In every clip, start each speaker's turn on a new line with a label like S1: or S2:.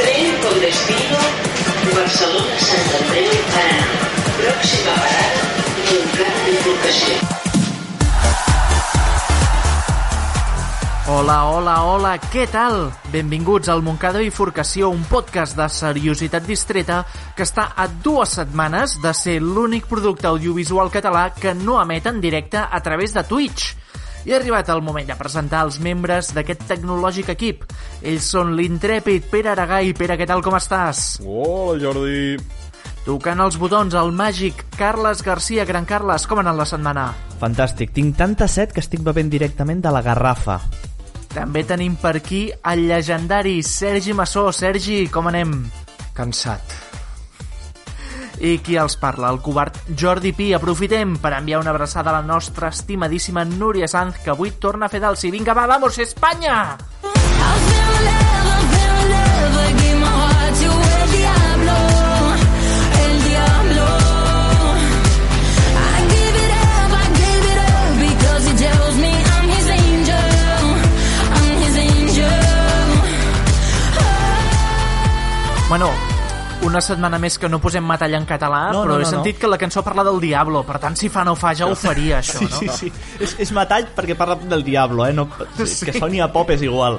S1: Robles Vigo, Barcelona, Santander i Paraná. Pròxima parada, Montcada Bifurcació.
S2: Hola, hola, hola, què tal? Benvinguts al Montcada Bifurcació, un podcast de seriositat distreta que està a dues setmanes de ser l'únic producte audiovisual català que no emet en directe a través de Twitch. I ha arribat el moment de presentar els membres d'aquest tecnològic equip. Ells són l'intrèpid Pere Aragai. Pere, què tal, com estàs?
S3: Hola, Oh, Jordi.
S2: Tocant els botons, el màgic Carles Garcia, Gran Carles, com ha anat la setmana?
S4: Fantàstic. Tinc tanta set que estic bevent directament de la garrafa.
S2: També tenim per aquí el legendari Sergi Massó. Sergi, com anem?
S5: Cansat.
S2: I qui els parla? El covard Jordi Pi. Aprofitem per enviar una abraçada a la nostra estimadíssima Núria Sanz, que avui torna a fer d'alci. Vinga, va, vamos, Espanya! Bueno, una setmana més que no posem metall en català,
S4: No,
S2: però
S4: no, no,
S2: he sentit
S4: no.
S2: que la cançó parla del diablo, per tant, si fa no fa, ja ho faria, això,
S4: Sí,
S2: no?
S4: sí, sí. És, és metall perquè parla del diablo, eh? No, és que soni a pop és igual.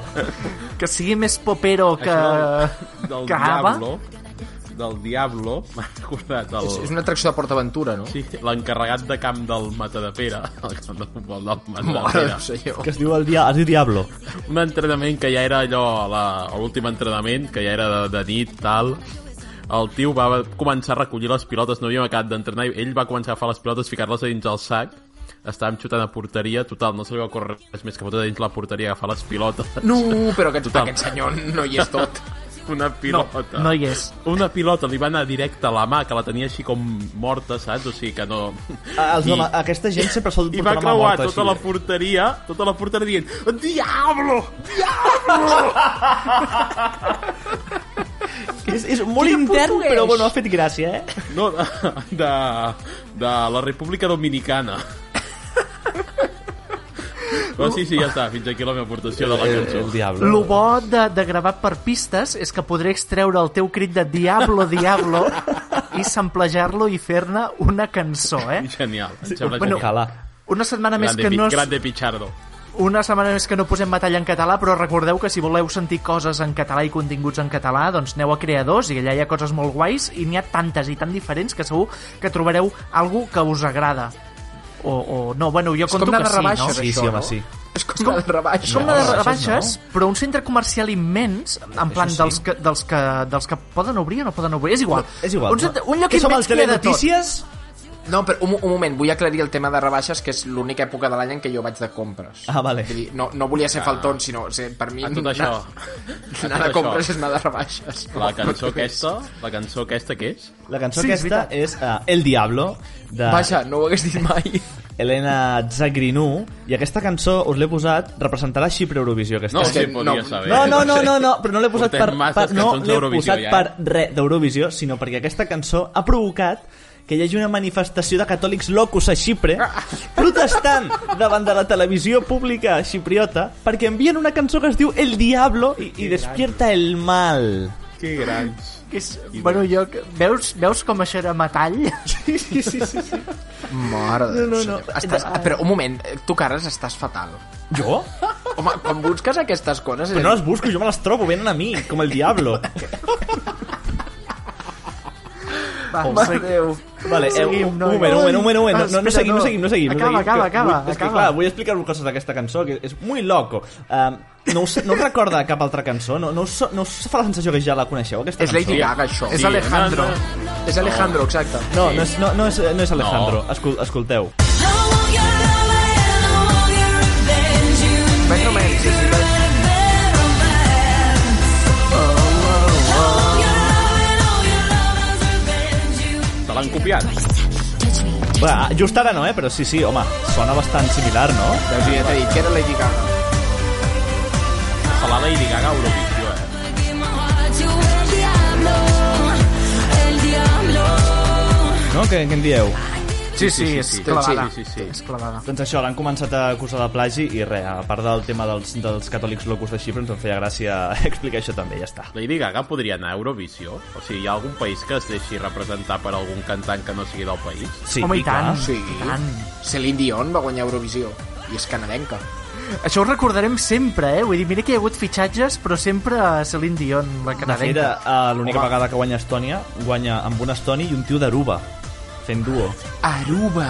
S2: Que sigui més popero que...
S3: Això del
S2: que Ava.
S3: Diablo, del Diablo, m'ha recordat el...
S5: És, és una atracció de PortAventura, no?
S3: Sí, l'encarregat de camp del Matadepera, el camp de futbol del
S5: Mare
S3: Matadepera.
S5: de senyor.
S4: Que es diu el, dia, es diu diablo.
S3: Un entrenament que ja era allò, la- l'últim entrenament, que ja era de, de nit, tal... El tio va començar a recollir les pilotes, no havíem acabat d'entrenar, i ell va començar a agafar les pilotes, ficar-les a dins el sac, estàvem xutant a porteria, total, no se li va córrer res més que fotre dins la porteria agafar les pilotes.
S5: No, però aquest,
S3: Total.
S5: aquest senyor no hi és tot.
S3: Una pilota.
S2: No hi és.
S3: Una pilota li va anar directe a la mà, que la tenia així com morta, saps? O sigui que no...
S4: Ah, Els, home, aquesta gent sempre sol
S3: I va
S4: portar la mà
S3: creuar
S4: morta
S3: tota la
S4: així. eh.
S3: porteria, tota la porteria dient Diablo!
S4: És, és molt
S2: Quin
S4: intern,
S2: portuguès!
S4: però bueno, ha fet gràcia, eh?
S3: No, de, de, de la República Dominicana. Però sí, sí, ja està. Fins aquí la meva aportació
S2: Eh,
S3: de la
S4: El
S3: cançó.
S4: diablo.
S2: Lo bo de, de gravar per pistes és que podré extreure el teu crit de Diablo, Diablo i samplejar-lo i fer-ne una cançó, eh?
S3: Genial, em sembla
S2: bueno,
S3: genial.
S4: Cala.
S2: Una setmana més
S3: Grande,
S2: que
S3: pi-
S2: no... es-
S3: grande Pichardo.
S2: Una setmana més que no posem batalla en català, però recordeu que si voleu sentir coses en català i continguts en català, doncs aneu a Creadors i allà hi ha coses molt guais i n'hi ha tantes i tan diferents que segur que trobareu algú que us agrada. O, o no, bueno, jo
S5: És com
S2: conto
S5: anar
S2: que
S5: de
S2: sí,
S5: rebaixes, eh?
S2: no?
S4: Sí,
S5: això,
S4: sí, home,
S5: no?
S4: sí.
S5: És com una de rebaixa.
S2: És com una de
S4: No,
S2: rebaixes,
S4: això
S2: però un centre comercial immens, en plan
S4: sí.
S2: dels, que, dels, que, dels que poden obrir o no poden obrir, és igual.
S4: És igual.
S2: Un, centre, un lloc
S4: que som
S2: immens
S4: al
S2: que hi ha de tot.
S4: Telenotícies?
S5: No, però un, un moment, vull aclarir el tema de rebaixes, que és l'única època de l'any en què jo vaig de compres.
S4: Ah, vale.
S5: Vull dir, no, no volia ser faltón, sinó o sigui, per mi...
S3: A tot
S5: anar-
S3: això. A
S5: Anar
S3: tot
S5: de compres
S3: això.
S5: és anar de rebaixes.
S3: La cançó aquesta, la cançó aquesta què és?
S4: La cançó
S2: Sí, és
S4: aquesta
S2: veritat.
S4: és uh, El Diablo, de
S5: Vaja, no ho hagués dit mai.
S4: Elena Zagrinú, i aquesta cançó, us l'he posat, representarà Xipre Eurovisió. Aquesta
S3: No,
S5: És
S3: sí,
S5: que
S3: podia
S5: no-
S3: saber.
S4: No, no, no, no, no, però no l'he posat
S3: Portem
S4: per,
S3: masses
S4: per no
S3: cançons
S4: l'he
S3: d'Eurovisió,
S4: posat
S3: ja, eh?
S4: per res d'Eurovisió, sinó perquè aquesta cançó ha provocat que hi hagi una manifestació de catòlics locos a Xipre protestant davant de la televisió pública xipriota perquè envien una cançó que es diu El Diablo i, i despierta el mal.
S3: Que grans.
S2: Que és, bueno, jo, veus, veus com això era metall?
S4: Sí, sí, sí. sí.
S5: Mare
S4: No, no,
S5: de Déu,
S4: no.
S5: senyor. Estàs, però un moment, eh, tu, Carles, estàs fatal.
S4: Jo?
S5: Home, quan busques aquestes coses...
S4: Però no les busco, jo me les trobo, venen a mi, com el Diablo.
S2: Va,
S5: Mare de Déu.
S4: Vale, eh,
S2: Seguim,
S4: un,
S2: no,
S4: un moment,
S2: no.
S4: un moment, un moment, un moment. No, no,
S2: Espera,
S4: no seguim,
S2: no.
S4: no seguim, no seguim. no
S2: Acaba,
S4: seguim, que
S2: acaba,
S4: vull-
S2: acaba,
S4: És que,
S2: acaba.
S4: clar, vull explicar-vos coses d'aquesta cançó, que és muy loco. Um, no, us, no us recorda cap altra cançó? No, no, us, no us fa la sensació que ja la coneixeu, aquesta
S5: És
S4: cançó?
S5: Lady Gaga, això.
S3: Sí,
S5: És Alejandro.
S3: no,
S5: És Alejandro, exacte.
S4: No, no és, no, no és, no és Alejandro. Escol, escolteu.
S5: Més o menys, sí, sí. Oh,
S3: Te l'han copiat?
S4: Va, just ara no, eh? Però sí, sí, home, sona bastant similar, no?
S5: Veus, ja t'he dit que era Lady Gaga.
S3: Se l'ha Lady Gaga a Eurovisió, eh?
S4: No? Què, què en dieu?
S2: Sí, sí, és clavada.
S3: Sí, sí, sí.
S2: És clavada.
S4: Doncs això, l'han començat a acusar de plagi i res, a part del tema dels, dels catòlics locos de Xipre, ens en feia gràcia explicar això també, ja està.
S3: Lady Gaga podria anar a Eurovisió? O sigui, hi ha algun país que es deixi representar per algun cantant que no sigui del país?
S4: Sí,
S2: Home, i tant.
S4: clar.
S5: Sí.
S2: I tant.
S5: Celine Dion va guanyar Eurovisió. I és canadenca.
S2: Això ho recordarem sempre, eh? Vull dir, mira que hi ha hagut fitxatges, però sempre Celine Dion, la
S4: De fet,
S2: canadenca.
S4: eh, l'única vegada que guanya Estònia, guanya amb un estoni i un tio d'Aruba, fent duo.
S5: Aruba.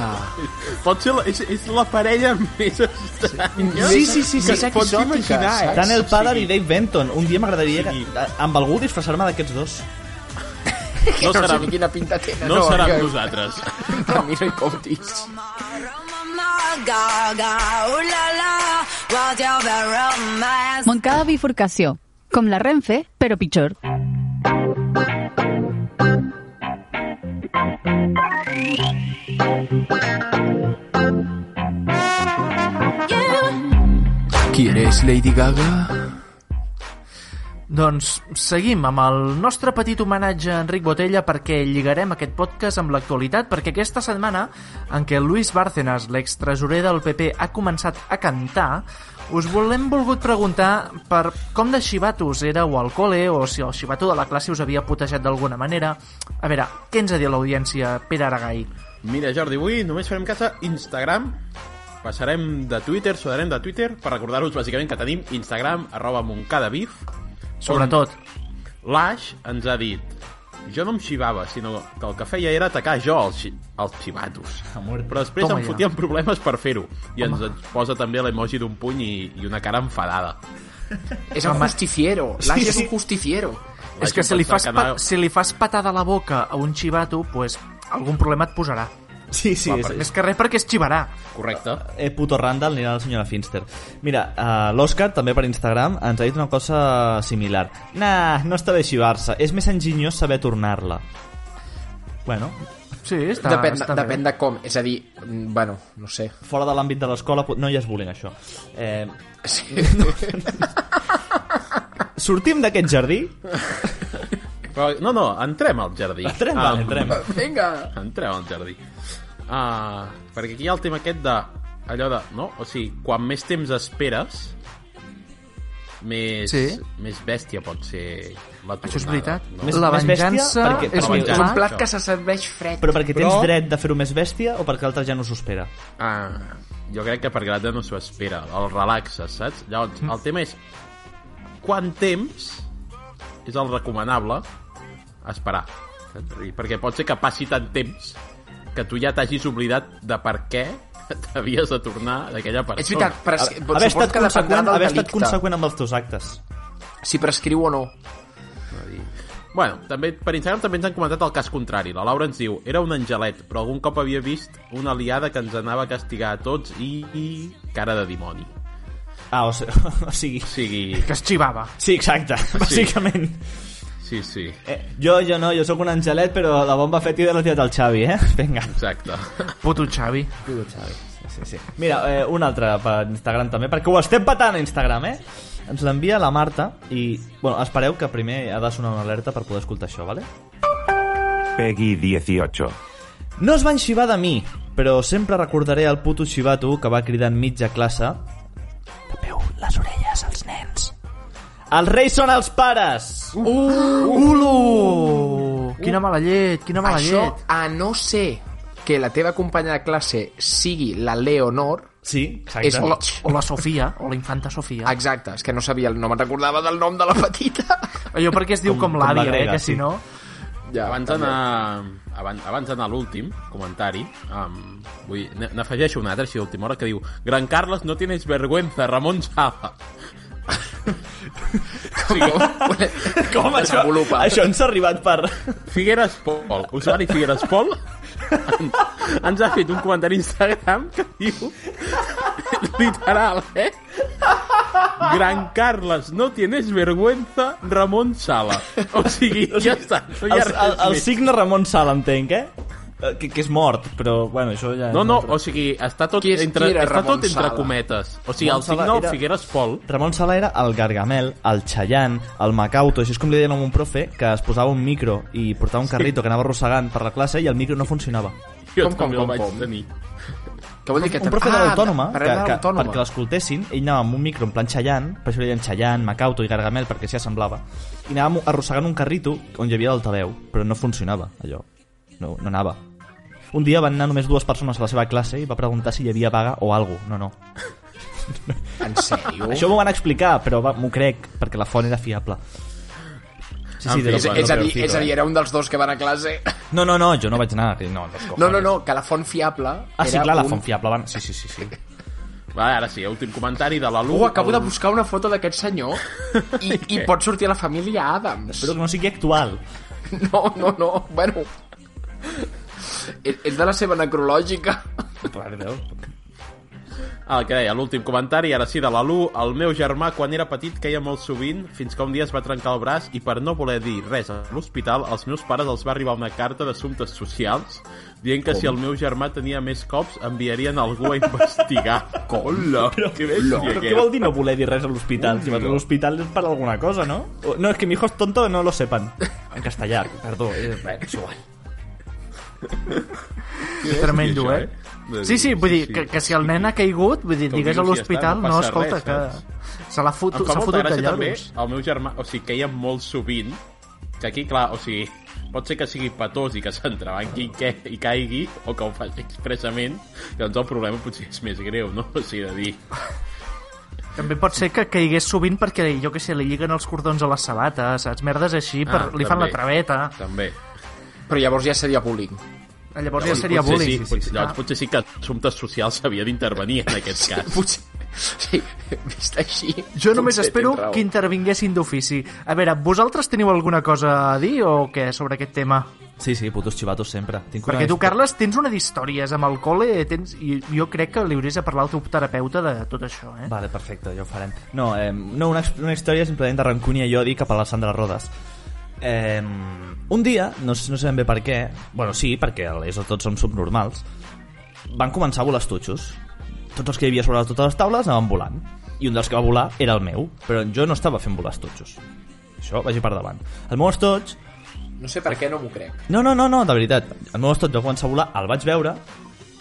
S3: Pot ser la, és, és la parella més estranya
S5: Sí, sí, sí, sí,
S3: que
S5: sí,
S3: et pots
S5: exòtica,
S3: imaginar, eh?
S5: saps?
S4: Tant el Padar i Dave Benton. Un dia
S3: Sí.
S4: m'agradaria que- eh, amb algú disfressar-me d'aquests dos.
S3: No
S5: No,
S3: serà,
S5: sé ni quina pinta tenen.
S3: no serà
S5: que-
S3: amb nosaltres.
S5: A mi no hi comptis.
S6: Montcada bifurcació. Com la Renfe, però pitjor.
S5: Qui eres, Lady Gaga?
S2: Doncs seguim amb el nostre petit homenatge a Enric Botella perquè lligarem aquest podcast amb l'actualitat, perquè aquesta setmana en què Luis Bárcenas, l'extresorer del PP, ha començat a cantar, us volem volgut preguntar per com de xivatos era o al col·le, o si el xivato de la classe us havia putejat d'alguna manera. A veure, què ens ha dit l'audiència, Pere Aragai?
S3: Mira, Jordi, avui només farem casa Instagram, passarem de Twitter, sodarem de Twitter, per recordar-vos bàsicament que tenim Instagram, arroba moncadavif,
S2: Sobretot,
S3: L'Aix ens ha dit jo no em xivava, sinó que el que feia era atacar jo els, xi els xivatos. Però després
S2: Toma
S3: em
S2: ja.
S3: fotien problemes per fer-ho. I ens, ens posa també l'emoji d'un puny i, i una cara enfadada.
S5: És un justifiero. L'Aix
S4: Sí,
S5: és
S4: sí.
S5: un justifiero.
S2: és que si li, fas pa, si li fas patada a la boca a un xivato, pues, algun problema et posarà.
S4: Sí, sí, és-
S2: Més que res perquè es xivarà.
S3: Correcte.
S4: eh, puto Randall anirà la senyora Finster. Mira, eh, l'Òscar, també per Instagram, ens ha dit una cosa similar. Nah, no està bé xivar-se. És més enginyós saber tornar-la. Bueno,
S2: Sí, està,
S5: Depèn,
S2: està bé.
S5: depèn de com. És a dir, mm, bueno, no sé.
S4: fora de l'àmbit de l'escola pot- no hi és bullying, això. Eh,
S5: Sí.
S4: sortim d'aquest jardí.
S3: Però, no, no, entrem al jardí.
S4: Entrem,
S3: Ah,
S4: vale, entrem.
S5: Vinga.
S3: Entrem al jardí. Ah, perquè aquí hi ha el tema aquest de... Allò de... No? O sigui, quan més temps esperes, més,
S2: Sí.
S3: més bèstia pot ser la tornada.
S2: Això és veritat.
S3: No?
S4: Més-
S2: Més, la
S4: més bèstia,
S2: venjança
S4: perquè-
S2: és
S4: perquè
S2: un
S3: és
S5: És
S2: plat
S5: un plat
S3: Això.
S5: que se serveix fred.
S4: Però perquè tens
S3: Però-
S4: dret de fer-ho més bèstia o perquè l'altre ja no s'ho espera?
S3: Ah, jo crec que perquè l'altre no s'ho espera, el relaxes, saps? Llavors, el tema és quant temps és el recomanable esperar. I Perquè pot ser que passi tant temps que tu ja t'hagis oblidat de per què t'havies de tornar d'aquella persona.
S5: És veritat, però és,
S4: Haver estat,
S5: que dependrà
S4: conseqüent,
S5: del
S4: haver estat
S5: delicte.
S4: conseqüent amb els teus actes.
S5: Si prescriu o no.
S3: Bueno, també, per Instagram també ens han comentat el cas contrari. La Laura ens diu, era un angelet, però algun cop havia vist una aliada que ens anava a castigar a tots i... i cara de dimoni.
S4: Ah, o, sigui, o sigui...
S3: O sigui...
S2: que es xivava.
S4: Sí, exacte, bàsicament.
S3: Sí, sí,
S4: Eh, jo, jo no, jo sóc un angelet, però la bomba fetida l'ha tirat el Xavi, eh? Vinga.
S3: exacte.
S2: Puto Xavi.
S4: Sí, sí. Mira, eh, un altre per Instagram també, perquè ho estem patant a Instagram, eh? Ens l'envia la Marta i, bueno, espereu que primer ha de sonar una alerta per poder escoltar això, vale?
S7: Peggy 18.
S4: No es van xivar de mi, però sempre recordaré el puto xivato que va cridar en mitja classe Tapeu les orelles als nens. Els reis són els pares!
S2: Uh. Ulo! Quina mala llet, quina mala
S5: Això,
S2: llet.
S5: a no ser que la teva companya de classe sigui la Leonor,
S4: Sí, exacte.
S5: és
S2: O la,
S5: lleig.
S2: o la Sofia, o la infanta Sofia.
S5: Exacte, és que no sabia, el- no me'n recordava del nom de la petita.
S2: Allò perquè es diu
S4: Com-
S2: com,
S4: com
S2: l'àvia,
S4: la grega,
S2: eh, que si
S4: sí.
S2: no...
S5: Ja,
S3: Abans
S5: també.
S3: d'anar abans, abans d'anar a l'últim comentari, um, vull, n- n'afegeixo un altre, així d'última hora, que diu Gran Carles, no tienes vergüenza, Ramon Sala.
S5: Com,
S4: Com això,
S5: Desenvolupa.
S4: això ens ha arribat per...
S3: Figueres Pol, usuari Figueres Pol, en, ens ha fet un comentari a Instagram que diu, literal, eh? Gran Carles, no tienes vergüenza, Ramon Sala. O sigui, ja està. No hi
S4: El,
S3: ha
S4: el,
S3: res
S4: el
S3: més.
S4: signe Ramon Sala, entenc, eh? Eh, Que, que és mort, però, bueno, això ja...
S3: No, no, o sigui, està tot
S5: Qui és-
S3: entre,
S5: qui era
S3: està
S5: Ramon
S3: tot entre
S5: Sala?
S3: cometes. O sigui,
S4: Ramon
S3: el
S4: Sala
S3: signe
S4: era-
S3: era... Figueres Pol
S4: Ramon Sala era el Gargamel, el Chayanne, el Macauto, així és com li deien a un profe, que es posava un micro i portava un carrito que anava arrossegant per la classe i el micro no funcionava.
S3: Jo
S5: Com, com,
S3: també el
S5: com,
S3: vaig
S5: com?
S3: tenir.
S5: Què vol dir que...
S4: un profe de l'autònoma,
S5: Ah,
S4: que,
S5: parlem de
S4: que,
S5: l'autònoma.
S4: perquè l'escoltessin, ell anava amb un micro en plan Xallant, per això li deien Xallant, Macauto i Gargamel, perquè s'hi assemblava, i anava arrossegant un carrito on hi havia l'altaveu, però no funcionava, allò. No, no anava. Un dia van anar només dues persones a la seva classe i va preguntar si hi havia vaga o alguna cosa. No, no.
S5: En sèrio?
S4: Això m'ho van explicar, però va- m'ho crec, perquè la font era fiable. Sí, sí,
S3: En fi,
S4: de
S5: és,
S3: no,
S5: és, a
S3: no
S5: dir,
S3: prefiro,
S5: és a dir,
S3: eh?
S5: era un dels dos que van a classe.
S4: No, no, no, jo no vaig anar. No,
S5: No, no, no, que la font fiable...
S4: Ah, sí,
S5: era
S4: clar, la
S5: un-
S4: font fiable. Van... Sí, sí, sí. sí.
S3: Va, ara sí, últim comentari de l'Alu.
S5: Uh, acabo de
S3: El-
S5: buscar una foto d'aquest senyor i, i pot sortir a la família Adams.
S4: Espero que no sigui actual.
S5: No, no, no, bueno... És, és de la seva necrològica.
S3: El que deia, l'últim comentari, ara sí, de l'Alu. El meu germà, quan era petit, queia molt sovint, fins que un dia es va trencar el braç i per no voler dir res a l'hospital, als meus pares els va arribar una carta d'assumptes socials dient que Com? si el meu germà tenia més cops, enviarien algú a investigar. Cola! Però, que bèstia,
S4: Però què
S3: que...
S4: vol dir no voler dir res a l'hospital? Si vas a l'hospital és per alguna cosa, no? O- No, és que mi hijo es tonto, no lo sepan. En castellà, perdó. Eh? Bé, és igual.
S2: Tremendo,
S3: això,
S2: eh? Sí, sí, vull dir, que, que si el nen ha caigut, vull dir,
S3: Com
S2: digues a
S3: dius, ja
S2: l'hospital,
S3: està, no
S2: no,
S3: passa
S2: escolta,
S3: res, saps?
S2: que se l'ha
S3: Em
S2: fotut,
S3: fa
S2: s'ha
S3: molta
S2: fotut de
S3: gràcia també
S2: lloros.
S3: el meu germà, o sigui, queia molt sovint, que aquí, clar, o sigui, pot ser que sigui petós i que s'entrebanqui i, que, i caigui, o que ho faci expressament, doncs el problema potser és més greu, no? O sigui, de dir...
S2: També pot ser que caigués sovint perquè, jo que sé, li lliguen els cordons a les sabates, saps? Merdes així, per,
S3: Ah,
S2: li fan la
S3: també.
S2: traveta.
S3: També.
S5: Però llavors ja seria bullying.
S2: Llavors ja seria
S3: potser
S2: bullying.
S3: Sí, potser,
S2: Ah.
S3: Llavors, potser sí que assumptes socials s'havia d'intervenir en aquest cas.
S5: Potser... Sí, vist així...
S2: Jo només
S5: potser
S2: espero
S5: tens raó.
S2: que intervinguessin d'ofici. A veure, vosaltres teniu alguna cosa a dir o què sobre aquest tema?
S4: Sí, sí, putos xivatos sempre. Tinc
S2: Perquè tu, Carles, tens una d'històries amb el col·le tens... i jo crec que li hauries de parlar al teu terapeuta de tot això, eh?
S4: Vale, perfecte, ja ho farem. No, eh, no una, una història simplement de rancúnia i odi cap a la Sandra Rodas. Eh, un dia, no, sé- no sé ben bé per què, bueno, sí, perquè a l'ESO tots som subnormals, van començar a volar estutxos. Tots els que hi havia sobre totes les taules anaven volant. I un dels que va volar era el meu, però jo no estava fent volar estutxos. Això vagi per davant. El meu estoig
S5: No sé per què no m'ho crec.
S4: no, no, no, no, de veritat. El meu estot va començar a volar, el vaig veure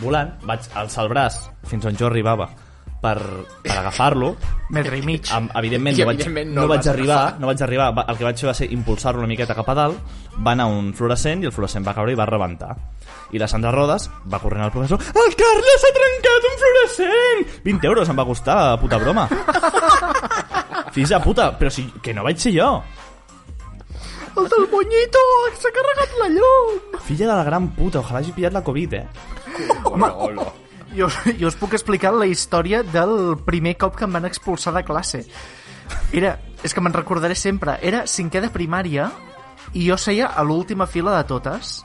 S4: volant, vaig alçar el braç fins on jo arribava per, per agafar-lo.
S2: Metre i mig.
S4: Am- Evidentment,
S5: I
S4: no vaig,
S5: evidentment no
S4: no,
S5: el
S4: vaig
S5: vas
S4: arribar,
S5: agafar.
S4: no vaig arribar. Va- El que vaig fer va ser impulsar-lo una miqueta cap a dalt, va anar un fluorescent i el fluorescent va caure i va rebentar. I la Sandra Rodas va corrent al professor El Carles ha trencat un fluorescent! 20 euros em va costar, puta broma. Fills de puta, però si, que no vaig ser jo.
S2: El del Bonyito! S'ha carregat la llum!
S4: Filla de la gran puta, ojalà hagi pillat la Covid, eh?
S2: Home, jo, jo us puc explicar la història del primer cop que em van expulsar de classe. Era, és que me'n recordaré sempre, era cinquè de primària i jo seia a l'última fila de totes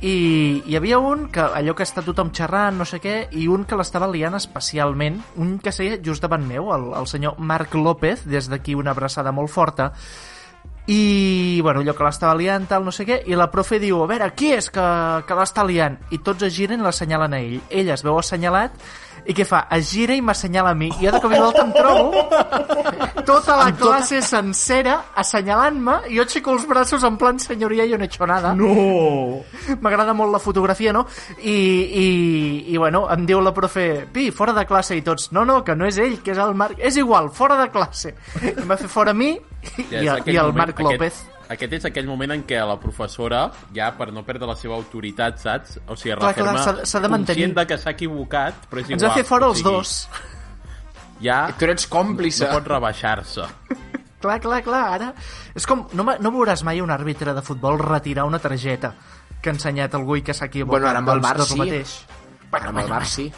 S2: i hi havia un que allò que està tothom xerrant, no sé què, i un que l'estava liant especialment, un que seia just davant meu, el, el senyor Marc López, des d'aquí una abraçada molt forta, i, bueno, allò que l'estava liant, tal, no sé què, i la profe diu, a veure, qui és que, que l'està liant? I tots es giren i l'assenyalen a ell. Ell es veu assenyalat, i què fa? Es gira i m'assenyala a mi. I jo de cop i volta em trobo tota la classe sencera assenyalant-me i jo aixeco els braços en plan senyoria jo no he hecho nada.
S4: No!
S2: M'agrada molt la fotografia, no? I, i, I, bueno, em diu la profe, Pi, fora de classe, i tots, no, no, que no és ell, que és el Marc... És igual, fora de classe. Em va fer fora a mi i, i,
S3: Ja és
S2: el-
S3: aquell
S2: i el
S3: moment-
S2: Marc López.
S3: Aquest, aquest és aquell moment en què la professora, ja per no perdre la seva autoritat, saps? O sigui,
S2: Clar, clar,
S3: referma
S2: s'ha- s'ha de mantenir.
S3: conscient de que s'ha equivocat, però és igual.
S2: Ens va fer fora
S3: o
S2: els
S3: sigui,
S2: dos.
S3: Ja
S5: Tu n'ets còmplice.
S3: no pot rebaixar-se.
S2: Clar, clar, clar, ara... És com, no, ma- no veuràs mai un àrbitre de futbol retirar una targeta que ha ensenyat algú i que s'ha equivocat.
S5: Bueno, ara amb el
S2: Doncs-
S5: VAR
S2: doncs
S5: sí.
S2: mateix.
S5: Bueno, amb el Bar sí.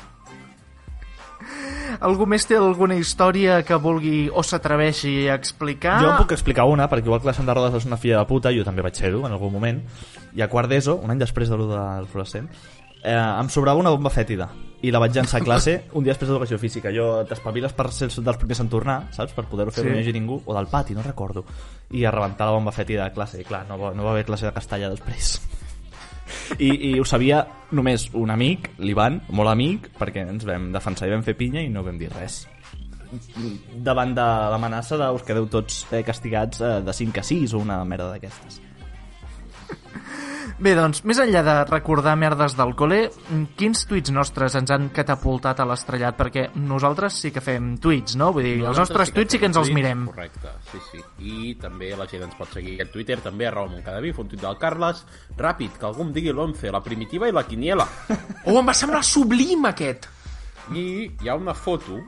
S2: Algú més té alguna història que vulgui o s'atreveixi a explicar?
S4: Jo en puc explicar una, perquè igual que la Sandra Rodas és una filla de puta, jo també vaig ser-ho en algun moment, i a quart d'ESO, un any després de lo del fluorescent, eh, em sobrava una bomba fètida i la vaig llançar a classe un dia després d'educació física. Jo t'espaviles per ser els dels primers en tornar, saps? Per poder-ho fer
S2: Sí.
S4: sí. no hi hagi ningú, o del pati, no recordo. I a rebentar la bomba fètida a classe. I clar, no va, no va haver classe de castellà després. I, I ho sabia només un amic, l'Ivan, molt amic, perquè ens vam defensar i vam fer pinya i no vam dir res davant de l'amenaça de us quedeu tots eh, castigats eh, de 5 a 6 o una merda d'aquestes.
S2: Bé, doncs, més enllà de recordar merdes del col·le, mm, quins tuits nostres ens han catapultat a l'estrellat? Perquè nosaltres sí que fem tuits, no? Vull dir, els nostres tuits sí que ens els
S3: tuits,
S2: mirem.
S3: Correcte, sí, sí. I també la gent ens pot seguir a Twitter, també arroba Montcadaví, fa un tuit del Carles. Ràpid, que algú em digui l'11, la primitiva i la quiniela.
S5: Oh, em va semblar sublim, aquest.
S3: I hi ha una foto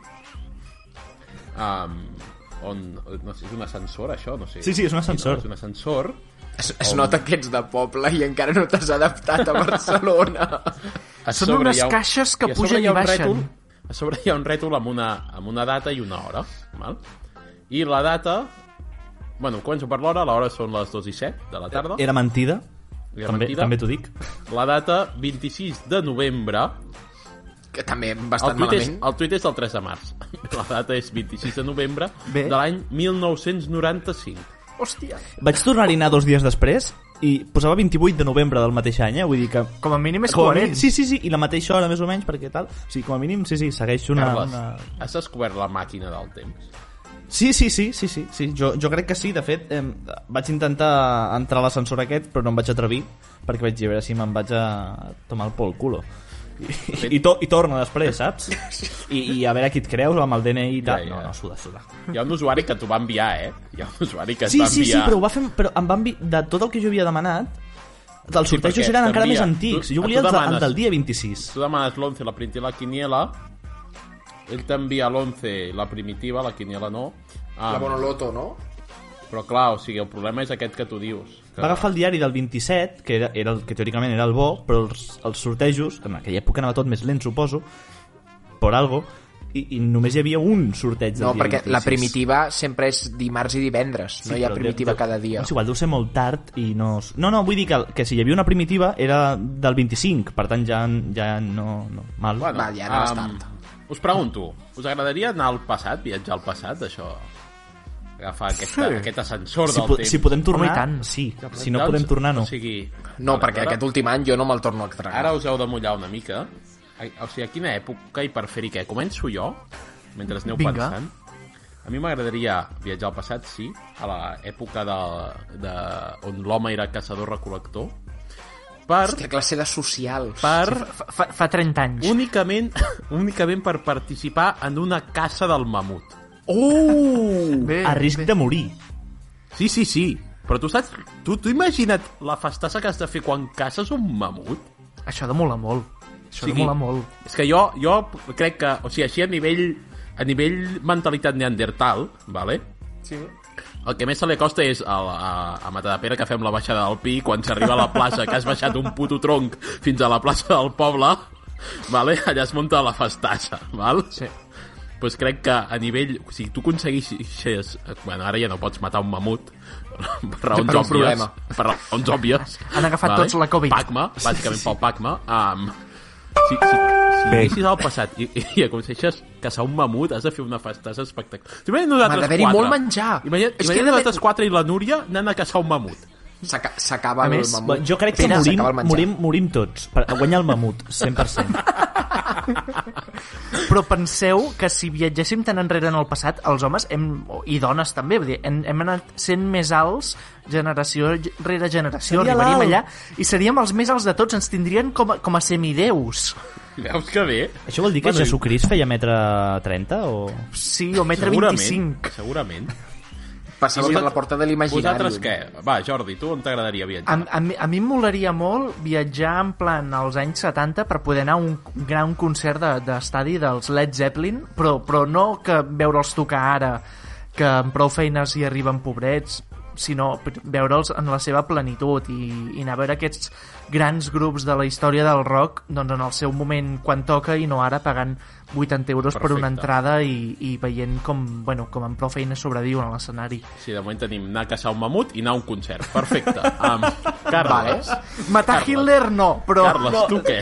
S3: um, on, no sé, és un ascensor, això? No sé.
S4: Sí, sí, és un ascensor.
S3: no, és un ascensor.
S5: Es, es nota que ets de poble i encara no t'has adaptat a Barcelona.
S3: A
S2: Són
S3: sobre
S2: unes
S3: hi ha
S2: caixes que
S3: a sobre
S2: pugen
S3: hi ha
S2: i
S3: un
S2: baixen.
S3: Rètol, a sobre hi ha un rètol amb una, amb una data i una hora. Val? I la data... Bueno, començo per l'hora, l'hora són les 2 i 7 de la tarda.
S4: Era mentida?
S3: Era
S4: també
S3: mentida.
S4: també t'ho dic.
S3: La data, 26 de novembre.
S5: Que també
S3: El
S5: bastant
S3: tuit, és,
S5: malament.
S3: el tuit és el 3 de març. La data és 26 de novembre
S2: Bé.
S3: de l'any 1995.
S2: Hòstia!
S4: Vaig tornar-hi a anar dos dies després i posava 28 de novembre del mateix any, eh? Vull dir que...
S2: Com a mínim és
S4: Com a
S2: coherent.
S4: mínim, sí, sí, sí, i la mateixa hora més o menys, perquè tal... Sí, com a mínim, sí, sí, segueix una...
S3: Carles,
S4: una...
S3: has descobert la màquina del temps?
S4: Sí, sí, sí, sí, sí, sí. Jo, jo crec que sí, de fet, eh, vaig intentar entrar a l'ascensor aquest, però no em vaig atrevir, perquè vaig dir, a veure si me'n vaig a tomar el pol culo. I, i, to, i torna després, saps? I, I a veure qui et creus amb el DNI i tal.
S3: Ja, ja.
S4: No, no, suda, suda.
S3: Hi ha un usuari que t'ho va enviar, eh? Hi ha un usuari que et
S4: Sí,
S3: va
S4: sí,
S3: enviar...
S4: sí, però, ho va fer, però em van de tot el que jo havia demanat, els sortejos
S3: perquè
S4: eren encara més
S3: t'envia.
S4: antics.
S3: Tu-
S4: Jo
S3: tu
S4: volia el, de- el
S3: demanes-
S4: del dia 26.
S3: Tu demanes l'11, la primitiva, la quiniela. Ell t'envia l'11, la primitiva, la quiniela no. Ah,
S5: La Bonoloto, no?
S3: Però clar, o sigui, el problema és aquest que tu dius. Que...
S4: Va agafar el diari del 27, que, era, era el, que teòricament era el bo, però els, els sortejos, en aquella època anava tot més lent, suposo, per algo, i, i només hi havia un sorteig del
S5: No,
S4: dia
S5: perquè
S4: 26.
S5: la primitiva sempre és dimarts i divendres. no hi ha
S4: però
S5: primitiva
S4: deu- deu-
S5: cada dia.
S4: És igual, deu ser molt tard i no... s- No, no, vull dir que, que si hi havia una primitiva era del 25, per tant ja, ja no, no... Mal.
S3: Bueno,
S5: Va, ja anaves tard.
S3: Us pregunto, us agradaria anar al passat, viatjar al passat, això? Agafar aquesta, sí. aquest ascensor
S4: si,
S3: del
S4: po
S3: temps.
S4: si podem tornar,
S2: Home, i tant. doncs,
S4: sí. Si no podem tornar, no.
S3: O sigui,
S5: No,
S3: vale,
S5: perquè
S3: ara,
S5: aquest últim any jo no me'l torno a tragar.
S3: Ara us heu de mullar una mica. Ai, O sigui, a quina època i per fer-hi què? Començo jo? Mentre aneu
S2: Vinga.
S3: pensant. A mi m'agradaria viatjar al passat, sí, a l'època de, de, on l'home era caçador-recol·lector, per,
S5: Hòstia, classe de socials.
S3: per
S2: Fa, fa- fa 30 anys.
S3: únicament, únicament per participar en una caça del mamut.
S5: Oh!
S2: Bé,
S4: A risc de morir.
S3: Sí, sí, sí. Però tu saps... Tu, tu imagina't la festassa que has de fer quan caces un mamut?
S2: Això demola molt. Això
S3: sigui,
S2: demola molt.
S3: És que jo, jo crec que, o sigui, així a nivell, a nivell mentalitat neandertal, vale? Sí. El que més se li acosta és a, la- a, a Matadepera que fem la baixada del Pi quan s'arriba a la plaça que has baixat un puto tronc fins a la plaça del poble, vale? allà es munta la festassa. Val?
S2: Sí.
S3: pues crec que a nivell... O sigui, tu aconseguixes... Bueno, ara ja no pots matar un mamut, per raons
S5: Per un
S3: òbvies.
S5: problema.
S3: Per raons òbvies.
S2: Han agafat tots la Covid.
S3: Pacma, bàsicament pel Pacma. Um, si, si, si
S7: Bé.
S3: anessis al passat i, i aconsegueixes caçar un mamut, has de fer una festassa espectacular. Imagina't
S5: M'ha
S3: nosaltres
S5: d'haver-hi
S3: quatre.
S5: molt menjar.
S3: Imagina't,
S5: És que
S3: imagina't
S5: era-
S3: nosaltres quatre i la Núria anant a caçar un mamut.
S5: S'aca- S'acaba
S2: A
S5: el
S2: més,
S5: mamut.
S4: Bueno, jo crec que
S5: Pere,
S4: morim,
S5: s'acaba el menjar.
S4: morim, morim tots per a guanyar el mamut, 100%.
S2: Però penseu que si viatgéssim tan enrere en el passat, els homes hem, i dones també, vull dir, hem, hem anat sent més alts generació rere generació,
S4: Seria
S2: arribaríem allà
S4: l'alt.
S2: i seríem els més alts de tots, ens tindrien com a, com a semideus.
S3: Veus que bé?
S4: Això vol dir que
S3: Bueno, i-
S4: Jesucrist feia metre 30 o...
S2: Sí, o metre
S3: Segurament,
S2: 25.
S3: Segurament.
S5: Passava per la porta de l'imaginari.
S3: Vosaltres què? Va, Jordi, tu on t'agradaria
S2: A,
S3: viatjar?
S2: a, mi- a mi em molaria molt viatjar en plan als anys 70 per poder anar a un gran concert de- d'estadi de, dels Led Zeppelin, però, però no que veure'ls tocar ara, que amb prou feines hi arriben pobrets, sinó pr- veure'ls en la seva plenitud i, i anar a veure aquests grans grups de la història del rock doncs en el seu moment quan toca i no ara pagant 80 euros Perfecte. per una
S3: Perfecte.
S2: entrada i, i veient com, bueno, com amb prou feines sobreviuen a l'escenari.
S3: Sí, de moment tenim anar a caçar un mamut i anar a un concert. Perfecte. Um, Carles, vale.
S2: Matar
S3: Carles.
S2: Hitler no, però...
S3: Carles, tu què?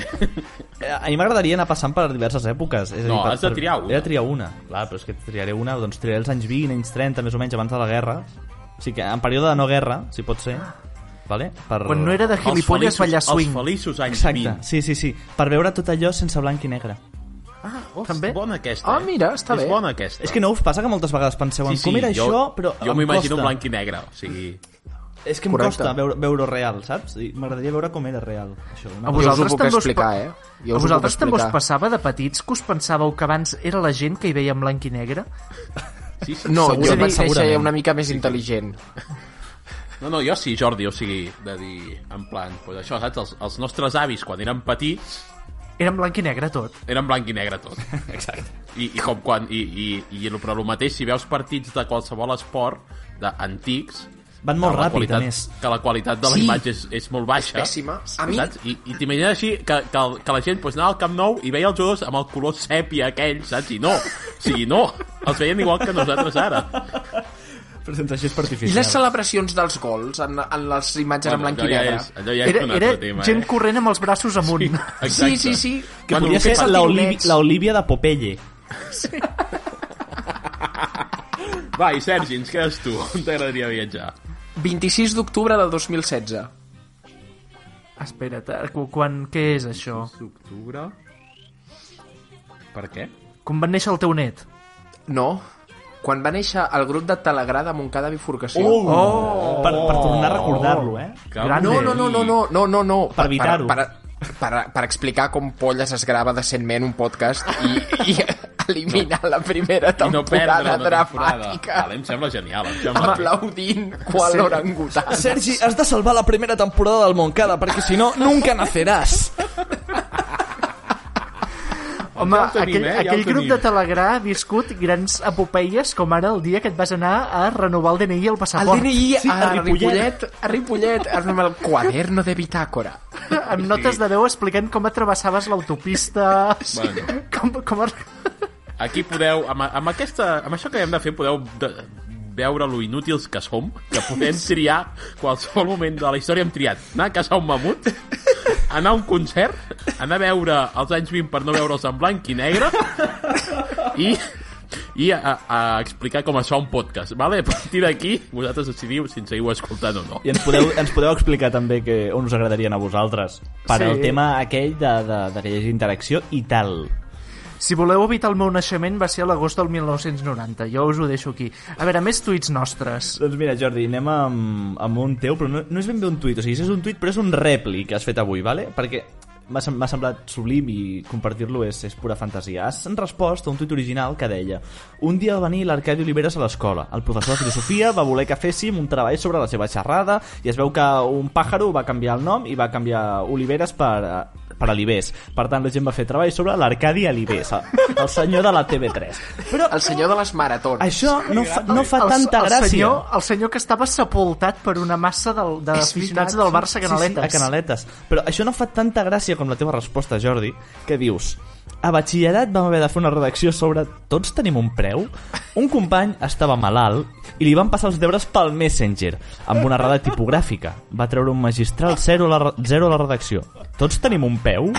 S4: Eh, A mi m'agradaria anar passant per diverses èpoques. És a dir,
S3: No,
S4: per,
S3: has de triar
S4: per...
S3: una.
S4: He de triar una. Clar, però és que triaré una, doncs triaré els anys 20, anys 30, més o menys, abans de la guerra. O sigui que en període de no guerra, si pot ser. Vale? Per...
S2: Quan no era de gilipolles ballar swing.
S3: Els feliços anys
S4: Exacte,
S3: 20.
S4: sí, sí, sí. Per veure tot allò sense blanc i negre.
S3: Ah, oh,
S2: També?
S3: És bona aquesta.
S5: Ah,
S3: eh?
S5: mira, està
S3: és
S5: bé.
S3: És bona aquesta.
S4: És que no us passa que moltes vegades penseu en com era
S3: jo,
S4: això, però
S3: Jo
S4: em
S3: m'imagino
S4: costa.
S3: en blanc i negre, o sigui...
S4: És que em
S5: Correcte.
S4: costa veure, veure real, saps? I M'agradaria veure com era real, això.
S2: A
S4: Una...
S5: us ho
S2: vosaltres
S5: puc
S2: també us
S5: explicar,
S2: pa-
S5: eh? Jo
S2: a
S5: us ho
S2: vosaltres
S5: puc
S2: també us
S5: explicar.
S2: passava de petits que us pensàveu que abans era la gent que hi veia en blanc i negre?
S4: Sí, sí,
S5: No, jo
S4: segurament,
S5: vaig néixer
S4: segurament.
S5: una mica més intel·ligent.
S3: No, no, jo sí, Jordi, o sigui, de dir, en plan, pues això, saps? Els, els nostres avis, quan eren petits,
S2: Era en blanc i negre tot.
S3: era en blanc i negre tot.
S4: Exacte.
S3: I, i com quan... I, i, i el, però el mateix, si veus partits de qualsevol esport, d'antics,
S4: Van molt
S3: que la
S4: ràpid,
S3: qualitat,
S4: a més.
S3: Que la qualitat de la
S5: Sí.
S3: imatge és, és molt baixa.
S5: Pèssima. A mi-
S3: Saps? I, i t'imagines així que, que, el- que la gent pues, anava al Camp Nou i veia els jugadors amb el color sèpia aquell, saps? I no. O sigui, no. Els veien igual que nosaltres ara.
S4: Però sense així és
S5: I
S4: artificial.
S5: les celebracions dels gols en, en les imatges en blanc i
S3: allò ja
S5: negre?
S3: és, allò ja és
S2: Era,
S3: un
S2: era
S3: altre tema,
S2: gent
S3: eh?
S2: corrent amb els braços amunt.
S5: Sí, sí, sí.
S4: Que
S3: Quan
S4: podria
S3: un
S4: ser
S3: fa
S4: la
S5: tironets.
S4: Olivia- la Olivia de Popeye.
S3: Va, i Sergi, ens quedes tu. On t'agradaria viatjar?
S5: 26 d'octubre de 2016.
S2: Espera't, eh, cu- quan, què és això?
S3: D'octubre... Per què?
S2: Com va néixer el teu net?
S5: No. Quan va néixer el grup de Telegrà de Montcada Bifurcació.
S4: Oh. Per, per tornar a recordar-lo, eh?
S2: Grande.
S5: No, no, no, no, no, no, no, no.
S4: Per evitar-ho.
S5: Per, per, per, per explicar com Polles es grava decentment un podcast i, i eliminar la primera
S3: I no
S5: temporada
S3: perdre una temporada.
S5: dramàtica.
S3: Vale, em sembla genial. Em
S5: Amb
S3: sembla...
S5: aplaudint qual
S2: Sí.
S5: orangutans.
S4: Sergi, has de salvar la primera temporada del Moncada, perquè si no, nunca naceràs.
S2: Home,
S3: el tenim,
S2: aquell,
S3: eh? Ja el
S2: aquell grup
S3: tenim.
S2: de Telegrà ha viscut grans epopeies com ara el dia que et vas anar a renovar el DNI i el
S5: El
S2: passaport.
S5: DNI
S4: Sí,
S5: a,
S3: Ah,
S4: a Ripollet.
S5: Ah, Ripollet, a Ripollet, amb el quaderno de bitàcora.
S2: amb notes de veu explicant com atravessaves l'autopista...
S3: Bueno.
S2: Com, com... ar-
S3: Aquí podeu, amb, amb, aquesta, amb això que hem de fer, podeu de, veure lo inútils que som, que podem triar qualsevol moment de la història hem triat. Anar a caçar un mamut, anar a un concert, anar a veure els anys 20 per no veure'ls en blanc i negre i, i a, a explicar com es fa un podcast. Vale? A partir d'aquí, vosaltres decidiu si ens seguiu escoltant o no.
S4: I ens podeu, ens podeu explicar també que, on us agradarien a vosaltres per
S2: Sí.
S4: sí. el tema aquell de, de, de que hi hagi interacció i tal.
S2: Si voleu evitar el meu naixement va ser a l'agost del 1990. Jo us ho deixo aquí. A veure, més tuits nostres.
S4: Doncs mira, Jordi, anem amb, amb un teu, però no, no és ben bé un tuit, o sigui, és un tuit, però és un repli que has fet avui, vale? perquè m'ha sem- m'ha semblat sublim i compartir-lo és, és pura fantasia. Has en respost a un tuit original que deia Un dia va venir l'Arcadi Oliveres a l'escola. El professor de filosofia va voler que féssim un treball sobre la seva xerrada i es veu que un pàjaro va canviar el nom i va canviar Oliveres per, eh, per Alibés. Per tant, la gent va fer treball sobre l'Arcadi Alibés, el el senyor de la TV3. Però
S5: El senyor de les maratons.
S4: això no fa, no fa
S2: El-
S4: tanta
S2: el,
S4: gràcia.
S2: senyor, el senyor que estava sepultat per una massa del, de
S5: És
S2: aficionats
S5: veritat,
S2: del Barça Canaletes.
S4: Sí, sí, a Canaletes. Però això no fa tanta gràcia com la teva resposta, Jordi, que dius... A batxillerat vam haver de fer una redacció sobre tots tenim un preu? Un company estava malalt i li van passar els deures pel Messenger, amb una errada tipogràfica. Va treure un magistral 0 a la, re- zero a la redacció. Tots tenim un peu?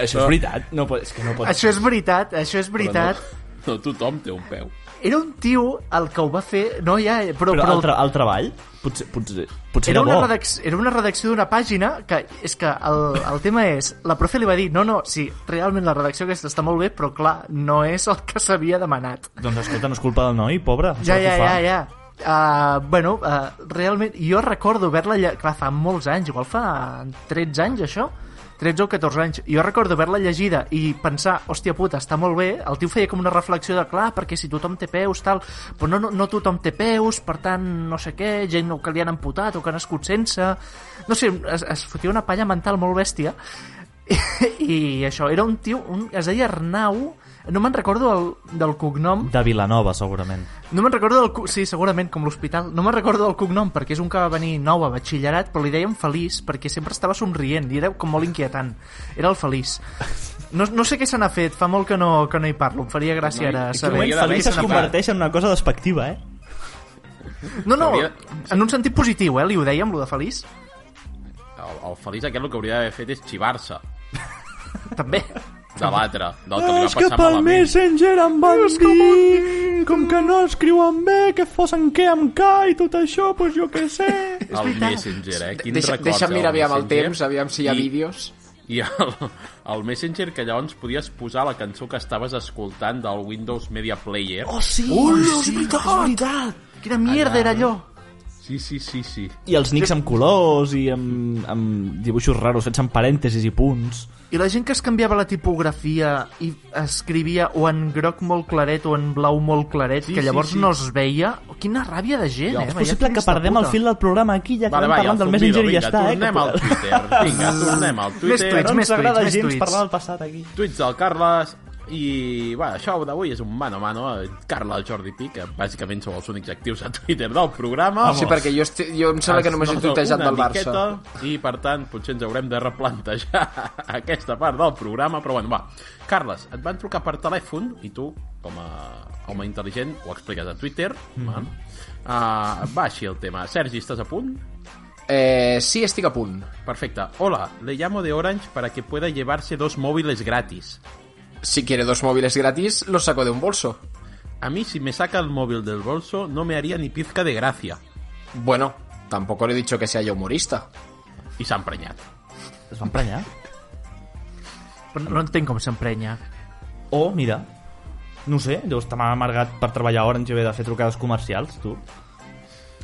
S4: Això és veritat. No pot, és que no pot
S2: Això és veritat, això és veritat.
S3: No, tothom té un peu.
S2: Era un tio el que ho va fer... No, ja, eh, però,
S4: Però,
S2: però,
S4: el, tra el treball? Potser, potser, potser
S2: era,
S4: era,
S2: una
S4: bo.
S2: redacció, era una redacció d'una pàgina que és que el, el tema és la profe li va dir, no, no, sí, realment la redacció aquesta està molt bé, però clar, no és el que s'havia demanat.
S4: Doncs escolta, no és culpa del noi, pobre.
S2: Ja,
S4: Sort
S2: ja,
S4: ho fa.
S2: ja, ja. Uh, bueno, uh, realment, jo recordo haver-la... lle- Clar, fa molts anys, igual fa 13 anys, això? 13 o 14 anys. Jo recordo haver-la llegida i pensar, hòstia puta, està molt bé. El tio feia com una reflexió de, clar, perquè si tothom té peus, tal... Però no, no, no tothom té peus, per tant, no sé què, gent o que li han amputat o que ha nascut sense... No sé, es, es fotia una palla mental molt bèstia. I, i això, era un tio... Un, es deia Arnau... No me'n recordo el, del cognom,
S4: De Vilanova, segurament.
S2: no me'n recordo del... cu- Sí, segurament, com l'hospital. No me'n recordo del cognom, perquè és un que va venir nou a batxillerat, però li deien Feliç, perquè sempre estava somrient i era com molt inquietant. Era el Feliç. No, no sé què se n'ha fet, fa molt que no, que no hi parlo. Em faria gràcia
S3: No,
S2: ara
S3: i- i
S2: saber.
S3: Hauria
S4: Moment
S3: d'haver
S4: feliç es
S3: una
S4: converteix en una cosa despectiva, eh?
S2: No, no,
S3: hauria-
S2: en un sentit positiu, eh? Li ho dèiem, lo de Feliç.
S3: El, el feliç aquest el que hauria d'haver fet és xivar-se
S2: També.
S3: de l'altre, del que li va passar malament.
S4: Messenger em van dir com que no escriuen bé, que fos en què, en K i tot això, pues jo què sé.
S3: El Messenger, eh? Quins
S5: Deixa,
S3: records,
S5: deixa'm
S3: eh,
S5: mirar aviam el
S3: Messenger.
S5: temps, aviam si hi ha
S3: I-
S5: vídeos.
S3: I el, el Messenger, que llavors podies posar la cançó que estaves escoltant del Windows Media Player.
S4: Oh, sí, Ui, és veritat, és veritat.
S2: Quina mierda era allò?
S3: Sí, sí, sí, sí.
S4: I els nics amb colors i amb, amb dibuixos raros fets amb parèntesis i punts.
S2: I la gent que es canviava la tipografia i escrivia o en groc molt claret o en blau molt claret,
S3: Sí,
S2: que llavors
S3: sí, sí.
S2: no es veia... Quina ràbia de gent, eh?
S4: És
S2: Vaya
S4: possible que
S2: trista
S4: perdem
S2: puta.
S4: el fil del programa aquí, ja que
S3: Vale,
S4: anem
S3: vale, el
S4: parlant del
S3: zumbido,
S4: Messenger i ja
S3: vinga,
S4: està, eh?
S3: tornem al Twitter. Vinga, tornem al Twitter.
S2: Més
S4: No
S2: Més
S4: ens agrada
S2: tuits, més
S4: gens
S2: tuits.
S4: parlar del passat aquí.
S3: Tuits del Carles i va, això d'avui és un mano a mano eh, Carla Jordi Pi, que bàsicament sou els únics actius a Twitter del programa
S5: Sí, perquè jo, esti... jo em sembla que només he
S3: Es nota
S5: tuitejat
S3: Ah, una
S5: del Barça.
S3: miqueta, I, per tant, potser ens haurem de replantejar aquesta part del programa, però bueno, va. Carles, et van trucar per telèfon i tu, com a home intel·ligent, ho expliques a Twitter.
S4: Mhm.
S3: Mm -hmm. uh, va així el tema. Sergi, estàs a punt?
S5: Eh, sí, estic a punt.
S3: Perfecte. Hola, le llamo de Orange para que pueda llevarse dos móviles gratis.
S5: Si quiere dos móviles gratis, los saco de un bolso.
S3: A mí, si me saca el móvil del bolso, no me haría ni pizca de gracia.
S5: Bueno, tampoco le he dicho que sea yo humorista.
S3: I s'ha emprenyat.
S4: Es va emprenyar.
S2: Però no entenc com s'emprenya.
S4: O, mira, no ho sé, deu estar amargat per treballar a Orange i haver de fer trucades comercials, tu.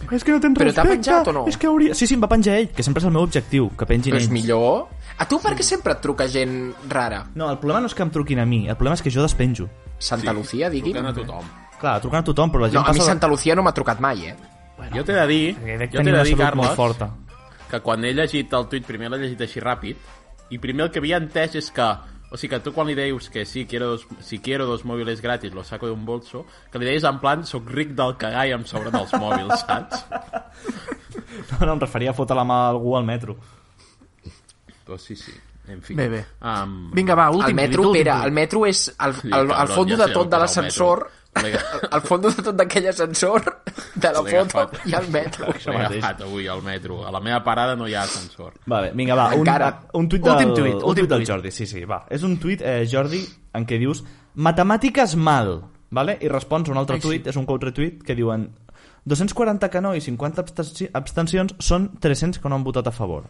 S4: És que no tens
S5: Però t'ha
S4: respecte,
S5: penjat o no?
S4: És que hauria... Sí, sí, em va penjar ell, que sempre és el meu objectiu, que pengin
S5: Però és
S4: ells.
S5: millor... A tu per què sempre et truca gent rara?
S4: No, el problema no és que em truquin a mi, el problema és que jo despenjo.
S5: Santa Lucía, digui'm?
S3: Truquen a tothom.
S4: Clar, truquen a tothom, però la gent
S5: No, a mi
S4: passa...
S5: Santa Lucía no m'ha trucat mai, eh?
S3: Jo t'he de dir,
S4: Dec
S3: jo t'he
S4: tenir
S3: de
S4: una
S3: dir,
S4: salut
S3: Carles,
S4: molt forta.
S3: que quan he llegit el tuit, primer l'he llegit així ràpid, i primer el que havia entès és que, o sigui, que tu quan li deies que sí, quiero dos, si quiero dos mòbils gratis, los saco de un bolso, que li deies en plan, soc ric del cagar i em sobren els mòbils, saps?
S4: No, no, em referia a fotre la mà a algú al metro.
S3: Doncs sí, sí. En fi.
S2: Bé, bé.
S3: Um,
S2: Vinga, va, últim
S5: El metro,
S2: tuit, últim
S5: Pere,
S2: tuit.
S5: el metro és... Al, al, al fondo de tot de l'ascensor... Al fondo de tot d'aquell ascensor de la foto i el metro.
S3: Això mateix. avui al metro. A la meva parada no hi ha ascensor.
S4: Vale, vinga, va, un,
S5: Encara.
S4: un tuit del,
S2: Últim tuit,
S4: un
S2: últim
S4: tuit del
S2: tuit.
S4: Jordi, sí, sí, va. És un tuit, eh, Jordi, en què dius matemàtiques mal, vale? i respons a un altre
S2: Ai, sí.
S4: tuit, és un contre-tuit, que diuen 240 que no i 50 abstenci- abstencions són 300 que no han votat a favor.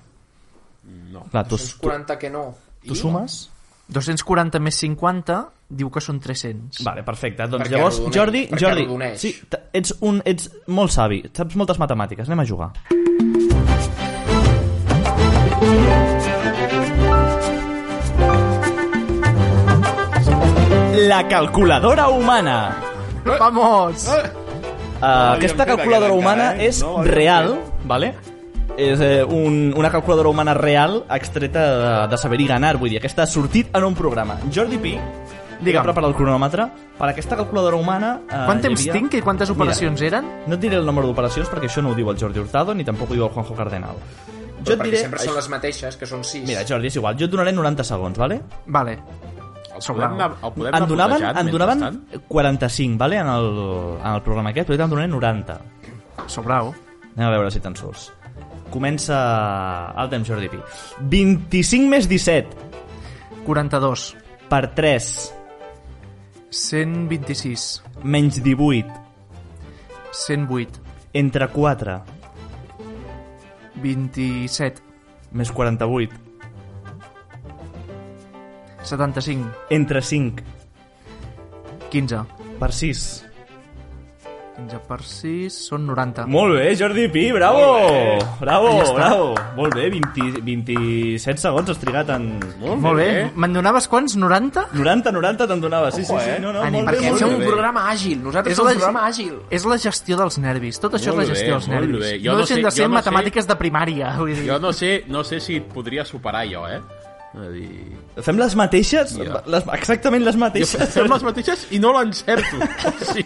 S3: No.
S4: Clar, tu, tu,
S5: 40 que no.
S4: tu sumes?
S2: 240 més 50 diu que són 300.
S4: Vale, perfecte. Doncs
S5: Perquè
S4: llavors,
S5: arrodoneix,
S4: Jordi,
S5: perquè
S4: Jordi,
S5: arrodoneix.
S4: sí, t- ets, un, ets molt savi, saps moltes matemàtiques, anem a jugar. La calculadora humana.
S2: Vamos!
S4: Eh, aquesta calculadora humana
S2: eh?
S4: és real, vale? És eh, un, una calculadora humana real extreta de, de saber i ganar, vull dir, aquesta ha sortit en un programa. Jordi Pi,
S2: Digue'm.
S4: digue'm, preparar el cronòmetre, per aquesta calculadora humana... Eh,
S2: Quant
S4: hi
S2: temps
S4: havia-
S2: tinc i quantes operacions
S4: Mira,
S2: eren?
S4: no et diré el nombre d'operacions perquè això no ho diu el Jordi Hurtado ni tampoc ho diu el Juanjo Cardenal. Jo et diré...
S5: sempre són les mateixes, que són 6.
S4: Mira, Jordi, és igual, jo et donaré 90 segons, vale?
S2: Vale.
S3: El
S2: Som
S3: podem
S2: va.
S3: anar, el podem
S4: Em donaven,
S3: anar
S4: em
S3: plantejant
S4: donaven
S3: mentrestant?
S4: 45, vale? En el, en el programa aquest, però jo te'n donaré 90.
S2: Sobrau.
S4: Anem a veure si te'n surts. Comença el temps, Jordi Pi. 25 més 17
S2: 42.
S4: per 3
S2: 126.
S4: menys 18
S2: 108.
S4: entre 4
S2: 27.
S4: més 48
S2: 75.
S4: entre 5
S2: 15.
S4: per 6.
S2: 15 per 6 són 90.
S4: Molt bé, Jordi Pi, bravo! Bravo,
S2: Ja està.
S4: bravo! Molt bé, 20, 27 segons has trigat en...
S2: Molt bé.
S3: eh?
S2: Me'n donaves quants? 90?
S4: 90, 90 te'n donava, sí, sí, sí, no, no,
S2: Ànim,
S4: molt bé,
S5: Perquè
S4: molt
S5: fem
S4: bé.
S5: un programa àgil. Nosaltres som un programa àgil.
S2: és la gestió dels nervis. Tot això
S3: Molt
S2: és la
S3: bé,
S2: gestió dels
S3: molt
S2: nervis.
S3: bé. Jo
S2: No
S3: no
S2: deixen
S3: sé-
S2: de ser
S3: jo no
S2: matemàtiques de primària. Vull dir.
S3: Jo no sé, no sé si et podria superar jo, eh? És a dir...
S4: Fem les mateixes,
S3: Mira.
S4: les, exactament les mateixes,
S3: Fem les mateixes i no l'encerto. Sí.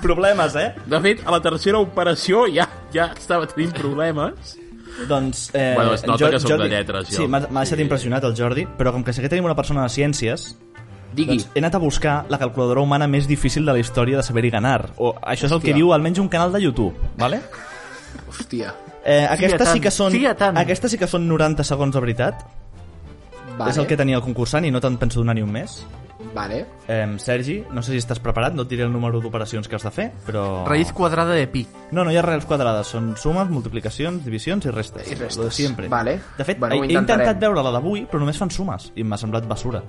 S4: problemes, eh?
S3: De fet, a la tercera operació ja ja estava tenint problemes.
S4: Doncs, eh,
S3: Bueno, es nota
S4: Jo-
S3: que sóc de
S4: Jordi-
S3: lletres, jo.
S4: Sí, m'ha m'ha deixat impressionat el Jordi, però com que sé que tenim una persona de ciències,
S5: Digui.
S4: doncs he anat a buscar la calculadora humana més difícil de la història de saber i ganar. O, això és el que
S5: Hòstia.
S4: diu almenys un canal de YouTube, vale?
S5: Hòstia.
S4: Eh, aquestes sí
S2: tant,
S4: que són,
S2: fia tant.
S4: aquestes sí que són 90 segons de veritat.
S5: Vale.
S4: És el que tenia el concursant i no te'n penso donar ni un més.
S5: Vale.
S4: Eh, Sergi, no sé si estàs preparat, no et diré el número d'operacions que has de fer, però...
S2: Raïz quadrada de pi.
S4: No, no hi ha raels quadrades, són sumes, multiplicacions, divisions i restes.
S5: I restes.
S4: Lo de sempre.
S5: Vale.
S4: De fet,
S5: Bueno,
S4: bueno, he
S5: ho
S4: intentat
S5: intentarem.
S4: veure la d'avui, però només fan sumes, i m'ha semblat basura.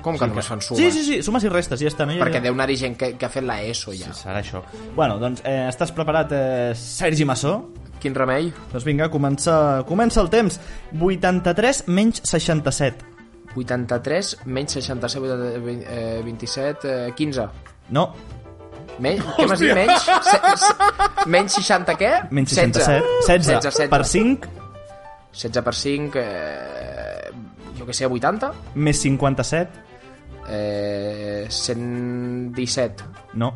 S5: Com que només fan sumes?
S4: Sí, sí, sí, sumes i restes, ja està. No? hi ha-
S5: Perquè deu anar-hi gent que, que ha fet la ESO ja.
S4: Serà això. Bueno, doncs eh, estàs preparat, eh, Sergi Massó?
S5: Quin remei?
S4: Doncs vinga, comença, comença el temps. 83 menys 67.
S5: 83 menys 67, 80, vint- eh, 27, eh, 15.
S4: No,
S5: Me... Què m'has dit? Menys? Se, se, menys 60 què?
S4: menys 67. 16,
S5: 16, 16.
S4: per 5,
S5: 16 per 5, eh, jo que sé, 80?
S4: més 57.
S5: Eh, 117,
S4: No,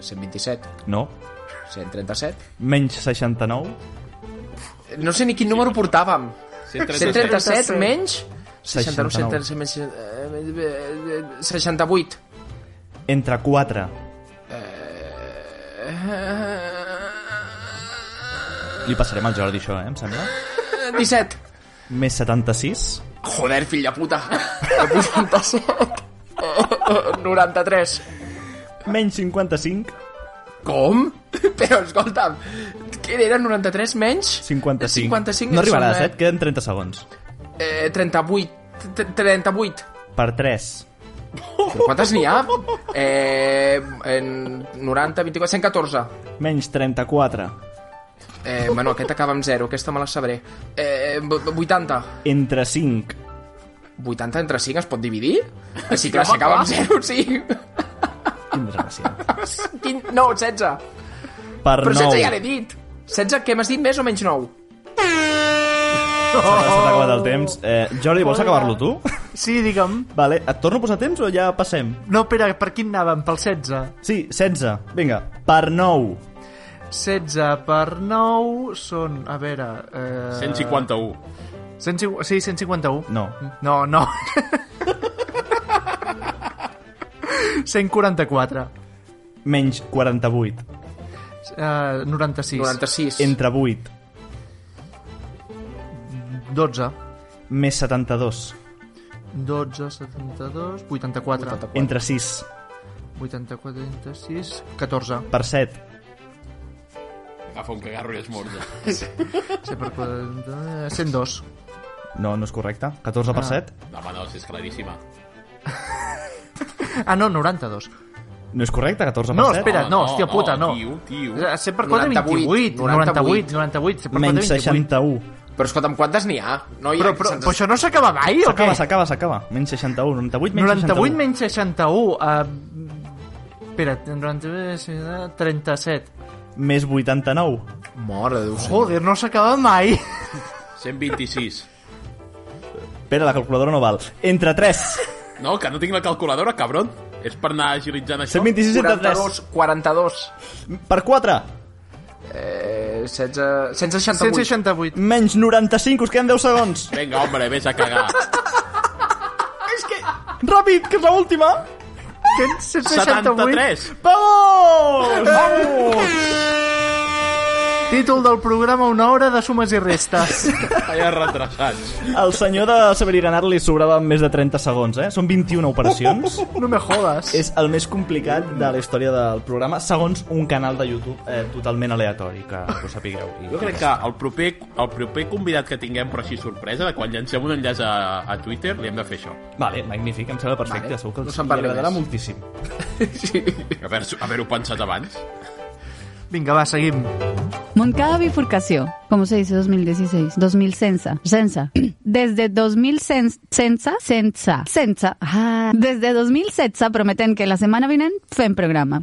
S5: 127,
S4: no,
S5: 137...
S4: menys 69.
S5: No sé ni quin número portàvem.
S3: 137.
S5: 137 menys... 69,
S4: 69.
S5: 137 menys... eh, eh, eh, 68.
S4: Entre 4. Li passarem al Jordi, això, eh, em sembla.
S5: 17.
S4: Més 76.
S5: Joder, fill de puta. 87. 93.
S4: Menys 55.
S5: Com? Però escolta'm, què era 93 menys?
S2: Eh,
S4: 55.
S5: 55
S4: no arribaràs,
S5: són,
S4: eh? Et queden 30 segons.
S5: Eh, 38. T- 38.
S4: Per 3.
S5: Però quantes n'hi ha? Eh, en 90, 24, 114.
S4: Menys 34.
S5: Eh, bueno, aquest acaba amb 0, aquesta me la sabré. Eh, bu- bu- 80.
S4: Entre 5.
S5: 80 entre 5 es pot dividir? Sí, clar, si acaba amb 0, sí.
S4: Quina desgràcia.
S5: Quin... No, 16.
S4: Per 9.
S5: Però 16 ja l'he dit. 16, què m'has dit? Més o menys 9?
S4: S'ha
S2: Oh.
S4: acabat el temps. Eh, Jordi, vols acabar-lo tu?
S2: Sí, digue'm.
S4: Vale, et torno a posar temps o ja passem?
S2: No, espera, per quin anàvem? Pel 16.
S4: Sí, 16. Vinga, per 9.
S2: 16 per 9 són... A veure... Eh...
S3: 151.
S2: 150, sí, 151.
S4: No.
S2: No, no. 144.
S4: Menys 48.
S2: Eh, 96.
S5: 96.
S4: Entre 8.
S2: 12.
S4: Més 72.
S2: 12, 72, 84. 84,
S4: Entre 6.
S2: 86, 14.
S4: Per 7.
S3: Agafa un cagarro i es morde.
S2: 100 per 40, eh, 102.
S4: No, no és correcte. 14 per 7.
S3: Home, no, si és claríssima.
S2: Ah, no, 92.
S4: No és correcte, 14 per
S2: No,
S4: 7.
S2: espera, no, hòstia puta, no.
S3: Tio, tio.
S2: 100 Eh, per 4,
S5: 98,
S2: 28. 98, 98. 100 per 4, 28.
S4: Menys 61.
S5: Però escolta'm, quantes n'hi ha? No hi ha
S2: Però, però, però això no s'acaba mai, o què?
S4: S'acaba, s'acaba, s'acaba. Menys 61. 98 menys
S2: 98
S4: 61.
S2: menys 61. Uh, espera, 98, eh, 37.
S4: Més 89.
S5: Mora de Déu.
S2: Joder, no s'acaba mai.
S3: 126.
S4: Espera, la calculadora no val. Entre 3.
S3: No, que no tinc la calculadora, cabron. És per anar agilitzant això.
S4: 126 entre 3.
S5: 42, 42.
S4: Per 4.
S5: Eh, 16, 168.
S2: 168.
S4: Menys 95. Us queden 10 segons.
S3: Vinga, home, vés a cagar.
S4: Ràpid, que és l'última.
S2: Que en 168.
S3: 73.
S4: Vamos! Vamos!
S2: Títol del programa Una hora de sumes i restes.
S3: Allà retrasats.
S4: El senyor de Saber i Ganar li sobrava més de 30 segons, eh? Són 21 operacions.
S2: No me jodas.
S4: És el més complicat de la història del programa, segons un canal de YouTube eh, totalment aleatori, que ho sapigueu. I,
S3: Jo crec que el proper, el proper convidat que tinguem, però així sorpresa, de quan llancem un enllaç a, a Twitter, li hem de fer això.
S4: Vale, magnífic, em sembla perfecte.
S5: Vale,
S4: Segur que
S5: no
S4: els
S5: se'n
S4: no
S5: parli
S4: agradarà
S5: més.
S4: moltíssim.
S3: Haver-ho haver pensat abans.
S2: Vinga, va, seguim.
S6: Moncada bifurcació. ¿Cómo se dice 2016? 2000 censa. Censa. Desde 2000 cen- censa, censa, censa. Ah, Desde 2000 censa prometen que la semana vinent fem programa.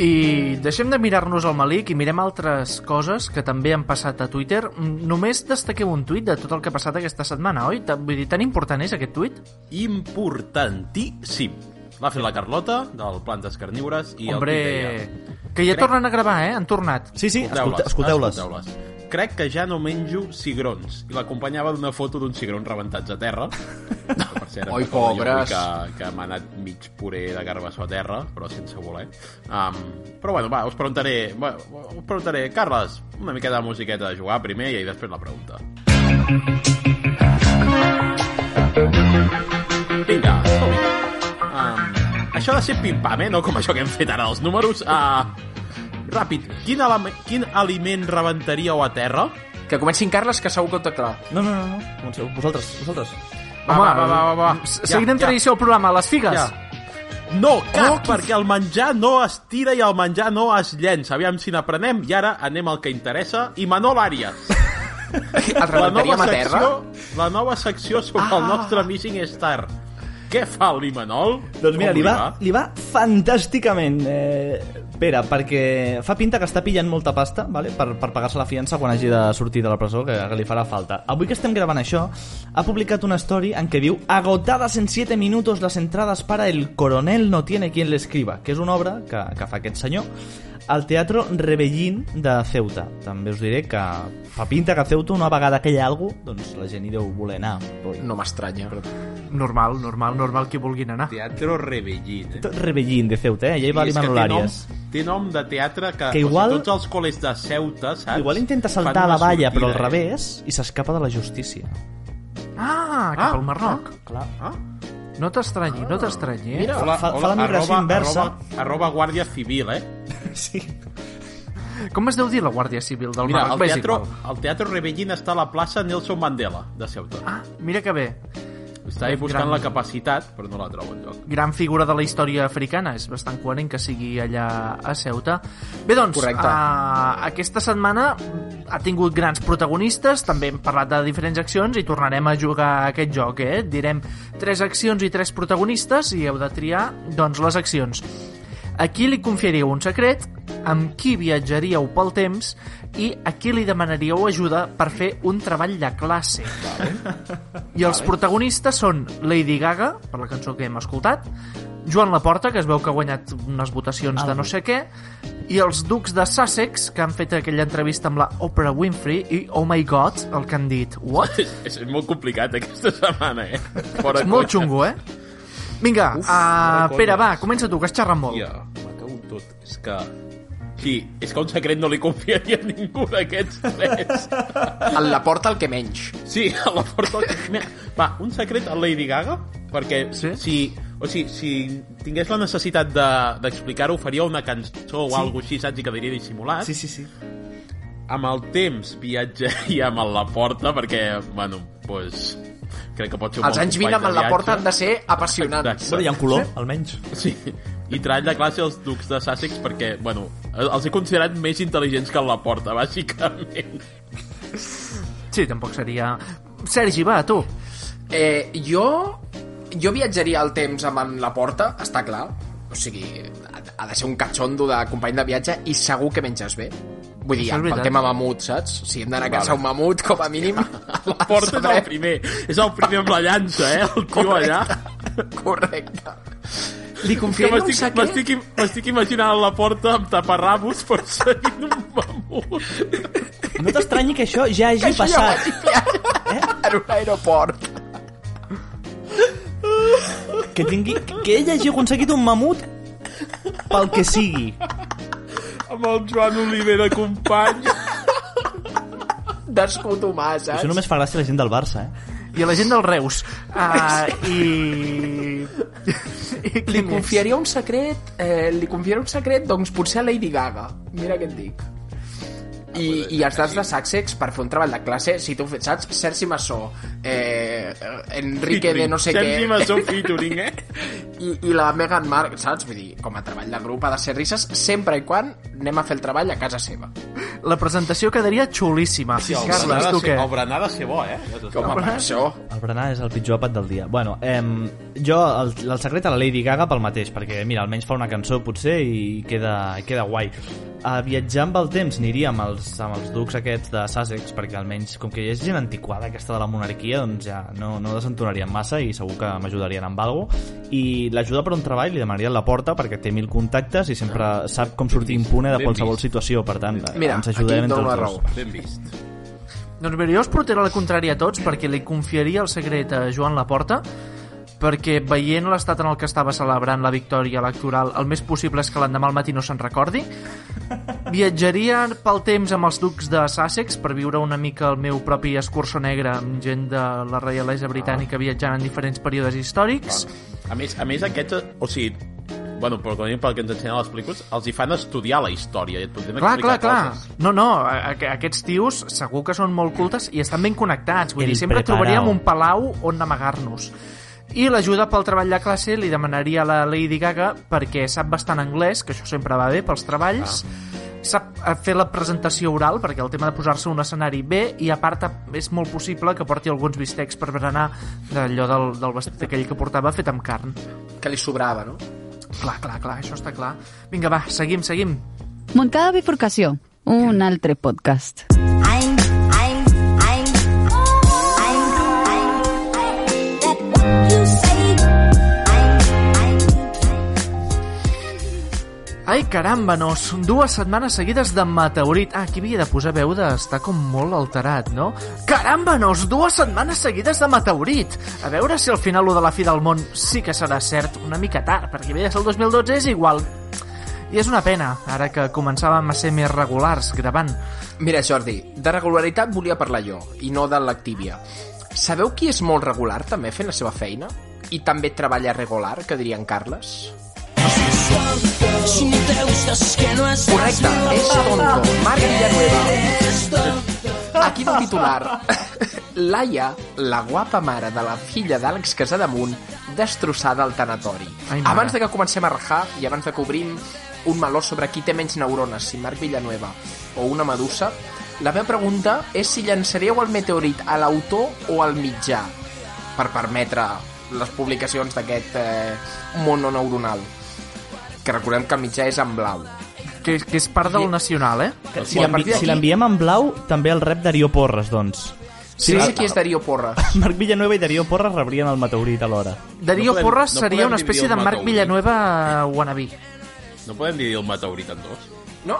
S2: I deixem de mirar-nos el Malik i mirem altres coses que també han passat a Twitter. Mm, Només destaqueu un tuit de tot el que ha passat aquesta setmana, oi? Ta- Vull dir, tan important és aquest tuit?
S3: Importantíssim. L'ha fet la Carlota, del Plantes Carnívores, i
S2: Hombre,
S3: el tuit deia...
S2: que ja tornen a gravar, eh? Han tornat.
S4: Sí, sí, escolteu-les.
S3: Escolteu-les,
S4: Escolteu
S3: escolteu-les. Crec que ja no menjo cigrons. I l'acompanyava d'una foto d'un cigron rebentats a terra. Per cert, recordo
S5: Oi,
S3: jo avui
S5: pobres.
S3: Que, que m'ha anat mig puré de garbassó a terra, però sense voler. Um, però bueno, va, us preguntaré... Va, us preguntaré, Carles, una miqueta de musiqueta de jugar primer i després la pregunta. Vinga, som-hi. Um, això ha de ser pim-pam, eh? No com això que hem fet ara dels números. Uh, ràpid, quin, alime- quin aliment rebentaríeu a terra?
S5: Que comencin Carles, que segur que ho té clar.
S4: No, no, no, no. Comenceu. Vosaltres, vosaltres.
S3: Va, va, va, va, va, va.
S2: s- Seguirem tradició del programa, les figues.
S3: Ja. No, cap, oh, perquè el menjar no es tira i el menjar no es llença. Aviam si n'aprenem, i ara anem al que interessa. I Manol Àries.
S5: El rebentaríem a terra?
S3: la nova secció sobre ah. el nostre Missing Star. Què fa el Limanol?
S4: Doncs mira,
S3: Com
S4: li va, li va fantàsticament, eh, Pere, perquè fa pinta que està pillant molta pasta vale? per, per pagar-se la fiança quan hagi de sortir de la presó, que, que li farà falta. Avui que estem gravant això, ha publicat una story en què diu «Agotadas en 7 minutos las entradas para El coronel no tiene quien le escriba», que és una obra que, que fa aquest senyor al Teatro Rebellín de Ceuta. També us diré que fa pinta que a Ceuta una vegada que hi ha alguna cosa, doncs la gent hi deu voler anar.
S5: No m'estranya.
S2: Normal, normal, normal que vulguin anar.
S3: Teatro Rebellín. Eh?
S4: Rebellín de Ceuta, eh? Allà hi va
S3: I és que
S4: l'Imanol
S3: té nom,
S4: Arias.
S3: té nom de teatre que,
S4: Que
S3: o sigui,
S4: igual-
S3: tots els col·les de Ceuta, saps?
S4: Igual intenta
S3: Fan
S4: saltar a
S3: una
S4: la valla,
S3: sortida,
S4: però al
S3: eh?
S4: revés, i s'escapa de la justícia.
S2: Ah, cap
S3: Ah,
S2: al Marroc.
S4: Clar.
S3: Ah,
S2: No t'estranyi, no t'estranyi, eh?
S4: Mira, fa, fa la migració
S3: arroba,
S4: inversa.
S3: Arroba, arroba Guàrdia Civil, eh?
S4: Sí.
S2: Com es deu dir la Guàrdia Civil del
S3: Mira,
S2: Marroc?
S3: el
S2: Bé, és
S3: teatre,
S2: igual.
S3: el teatre Rebellín està a la plaça Nelson Mandela, de Ceuta.
S2: Ah, mira que bé.
S3: Estava buscant
S2: gran.
S3: la capacitat, però no la trobo enlloc.
S2: Gran figura de la història africana. És bastant coherent que sigui allà a Ceuta. Bé, doncs,
S5: Correcte.
S2: Uh, aquesta setmana ha tingut grans protagonistes, també hem parlat de diferents accions i tornarem a jugar a aquest joc, eh? Direm tres accions i tres protagonistes i heu de triar, doncs, les accions. A qui li confiaríeu un secret, amb qui viatjaríeu pel temps i a qui li demanaríeu ajuda per fer un treball de classe. I els protagonistes són Lady Gaga, per la cançó que hem escoltat, Joan Laporta, que es veu que ha guanyat unes votacions de no sé què, i els ducs de Sussex, que han fet aquella entrevista amb la Oprah Winfrey, i Oh My God, el que han dit. What?
S3: És, és molt complicat aquesta setmana, eh? Fora
S2: És molt
S3: conya.
S2: xungo, eh? Vinga, uh,
S3: Uf, fora
S2: Pere,
S3: conya.
S2: va, comença tu, que has xerrat molt.
S3: Hòstia, me cago en tot. És que... Sí, és que un secret no li confiaria a ningú d'aquests tres.
S5: En la porta el que menys.
S3: Sí, a la porta... Mira, Va, un secret a Lady Gaga, perquè
S2: Sí?
S3: si, o sigui, si tingués la necessitat de- d'explicar-ho, faria una cançó o sí. alguna així, saps? I quedaria dissimulat.
S4: Sí, sí, sí.
S3: Amb el temps viatjaria amb el la porta, perquè, bueno, doncs... Crec que pot ser un
S5: Els
S3: bon
S5: anys
S3: company
S5: 20 amb
S3: de
S5: la porta han
S3: viatge.
S5: de ser apassionants.
S4: Bueno, hi ha un color, almenys.
S3: Sí, i treball de classe als ducs de Sussex perquè, bueno, els he considerat més intel·ligents que en la porta, bàsicament.
S2: Sí, tampoc seria... Sergi, va, tu.
S5: Eh, jo, jo viatjaria al temps amb en la porta, està clar. O sigui, ha, ha de ser un catxondo de company de viatge i segur que menges bé. Vull dir,
S2: Això és
S5: pel
S2: veritat.
S5: tema mamut, saps? Si hem d'anar a caçar un mamut, com a mínim... Ah,
S3: La porta és el primer, és el primer amb la llança, eh, el tio allà.
S5: Correcte. Li
S3: És que
S5: confiaria un
S3: m'estic-
S5: secret?
S3: M'estic m'estic imaginant en la porta amb taparrabos perseguint un mamut.
S4: No t'estranyi que això ja hagi passat.
S5: En un aeroport.
S4: Que, tingui, que ell hagi aconseguit un mamut pel que sigui.
S3: Amb el Joan Olivera, company.
S5: Descotomar, saps?
S4: Això només fa gràcia a la gent del Barça, eh?
S2: I a la gent del Reus. Uh, I... I
S5: Li
S2: qui més?
S5: confiaria un secret, eh, li confiaria un secret, doncs potser a Lady Gaga. Mira què et dic. I, i els dats de Sussex per fer un treball de classe, si tu fet, saps? Sergi Massó, eh, eh, Enrique de no sé què...
S3: Sergi Massó featuring, eh?
S5: I, i la Meghan Mark, saps? Vull dir, com a treball de grup ha de ser risses sempre i quan anem a fer el treball a casa seva.
S2: La presentació quedaria xulíssima. Sí,
S3: el
S2: Carles,
S3: berenar
S2: tu
S3: de ser-
S2: què?
S3: El berenar de ser bo, eh?
S5: Com a per això.
S4: El berenar és el pitjor àpat del dia. Bueno, ehm, jo, el, el secret a la Lady Gaga pel mateix, perquè, mira, almenys fa una cançó, potser, i queda, queda guai. A viatjar amb el temps aniria amb els, amb els ducs aquests de Sussex, perquè almenys, com que és gent antiquada aquesta de la monarquia, doncs ja no, no desentonarien massa i segur que m'ajudarien amb algo. I l'ajuda per un treball li demanaria la porta, perquè té mil contactes i sempre sap com sortir impune de
S3: Ben
S4: qualsevol
S3: vist.
S4: situació, per tant,
S5: Mira,
S4: ens
S5: aquí et
S4: ajudarem entre
S5: dono la
S4: els
S5: raó.
S4: dos.
S3: Ben vist.
S2: Doncs mira, jo us portaré la contrària a tots perquè li confiaria el secret a Joan Laporta perquè veient l'estat en el que estava celebrant la victòria electoral, el més possible és que l'endemà al matí no se'n recordi. Viatjaria pel temps amb els ducs de Sussex per viure una mica el meu propi escurçó negre amb gent de la reialesa britànica viatjant en diferents períodes històrics.
S3: A més, a més aquests, o sigui, bueno, però com a mínim pel que ens ensenyen a les pel·lícules, els hi fan estudiar la història i et podrien
S2: Clar, clar,
S3: explicar
S2: clar.
S3: coses.
S2: No, no, a- a- aquests tios segur que són molt cultes i estan ben connectats. Vull
S4: El
S2: dir, sempre
S4: preparao.
S2: trobaríem un palau on amagar-nos. I l'ajuda pel treball de classe li demanaria a la Lady Gaga perquè sap bastant anglès, que això sempre va bé pels treballs, sap eh, fer la presentació oral, perquè el tema de posar-se un escenari bé, i a part eh, és molt possible que porti alguns bistecs per berenar d'allò del, del vestit aquell que portava fet amb carn.
S5: Que li sobrava, no?
S2: Clar, clar, clar, això està clar. Vinga, va, seguim, seguim.
S6: Montcada Bifurcació, un altre podcast.
S2: Ai, caramba, nos. Dues setmanes seguides de meteorit. Ah, aquí havia de posar veu d'estar com molt alterat, no? Caramba, nos. Dues setmanes seguides de meteorit. A veure si al final lo de la fi del món sí que serà cert una mica tard, perquè ve de ser el 2012 és igual. I és una pena, ara que començàvem a ser més regulars gravant.
S5: Mira, Jordi, de regularitat volia parlar jo, i no de l'actívia. Sabeu qui és molt regular també fent la seva feina? I també treballa regular, que dirien Carles? Correcte, és tonto. Marc Villanueva. Aquí el titular. Laia, la guapa mare de la filla d'Àlex Casademunt, destrossada al tanatori.
S2: Ai, mare.
S5: abans de que comencem a rajar i abans de que obrim un meló sobre qui té menys neurones, si Marc Villanueva o una medusa, la meva pregunta és si llançaríeu el meteorit a l'autor o al mitjà per permetre les publicacions d'aquest eh, mononeuronal que recordem que el mitjà és en blau
S2: Que, que és part del nacional, eh?
S4: Que Si
S5: I a
S4: l'envi-
S5: partir
S4: si
S5: d'aquí-
S4: l'enviem en blau, també el rep Darío Porres, doncs.
S5: sí, no sé qui és Darío Porres
S4: Marc Villanueva i Darío Porres rebrien el meteorit alhora.
S2: Darío
S3: podem-
S2: Porras
S3: no
S2: seria
S3: podem
S2: una espècie
S3: dividir
S2: de
S3: el
S2: Marc
S3: meteorit.
S2: Villanueva wannabe.
S3: No podem dividir el meteorit en dos.
S5: no?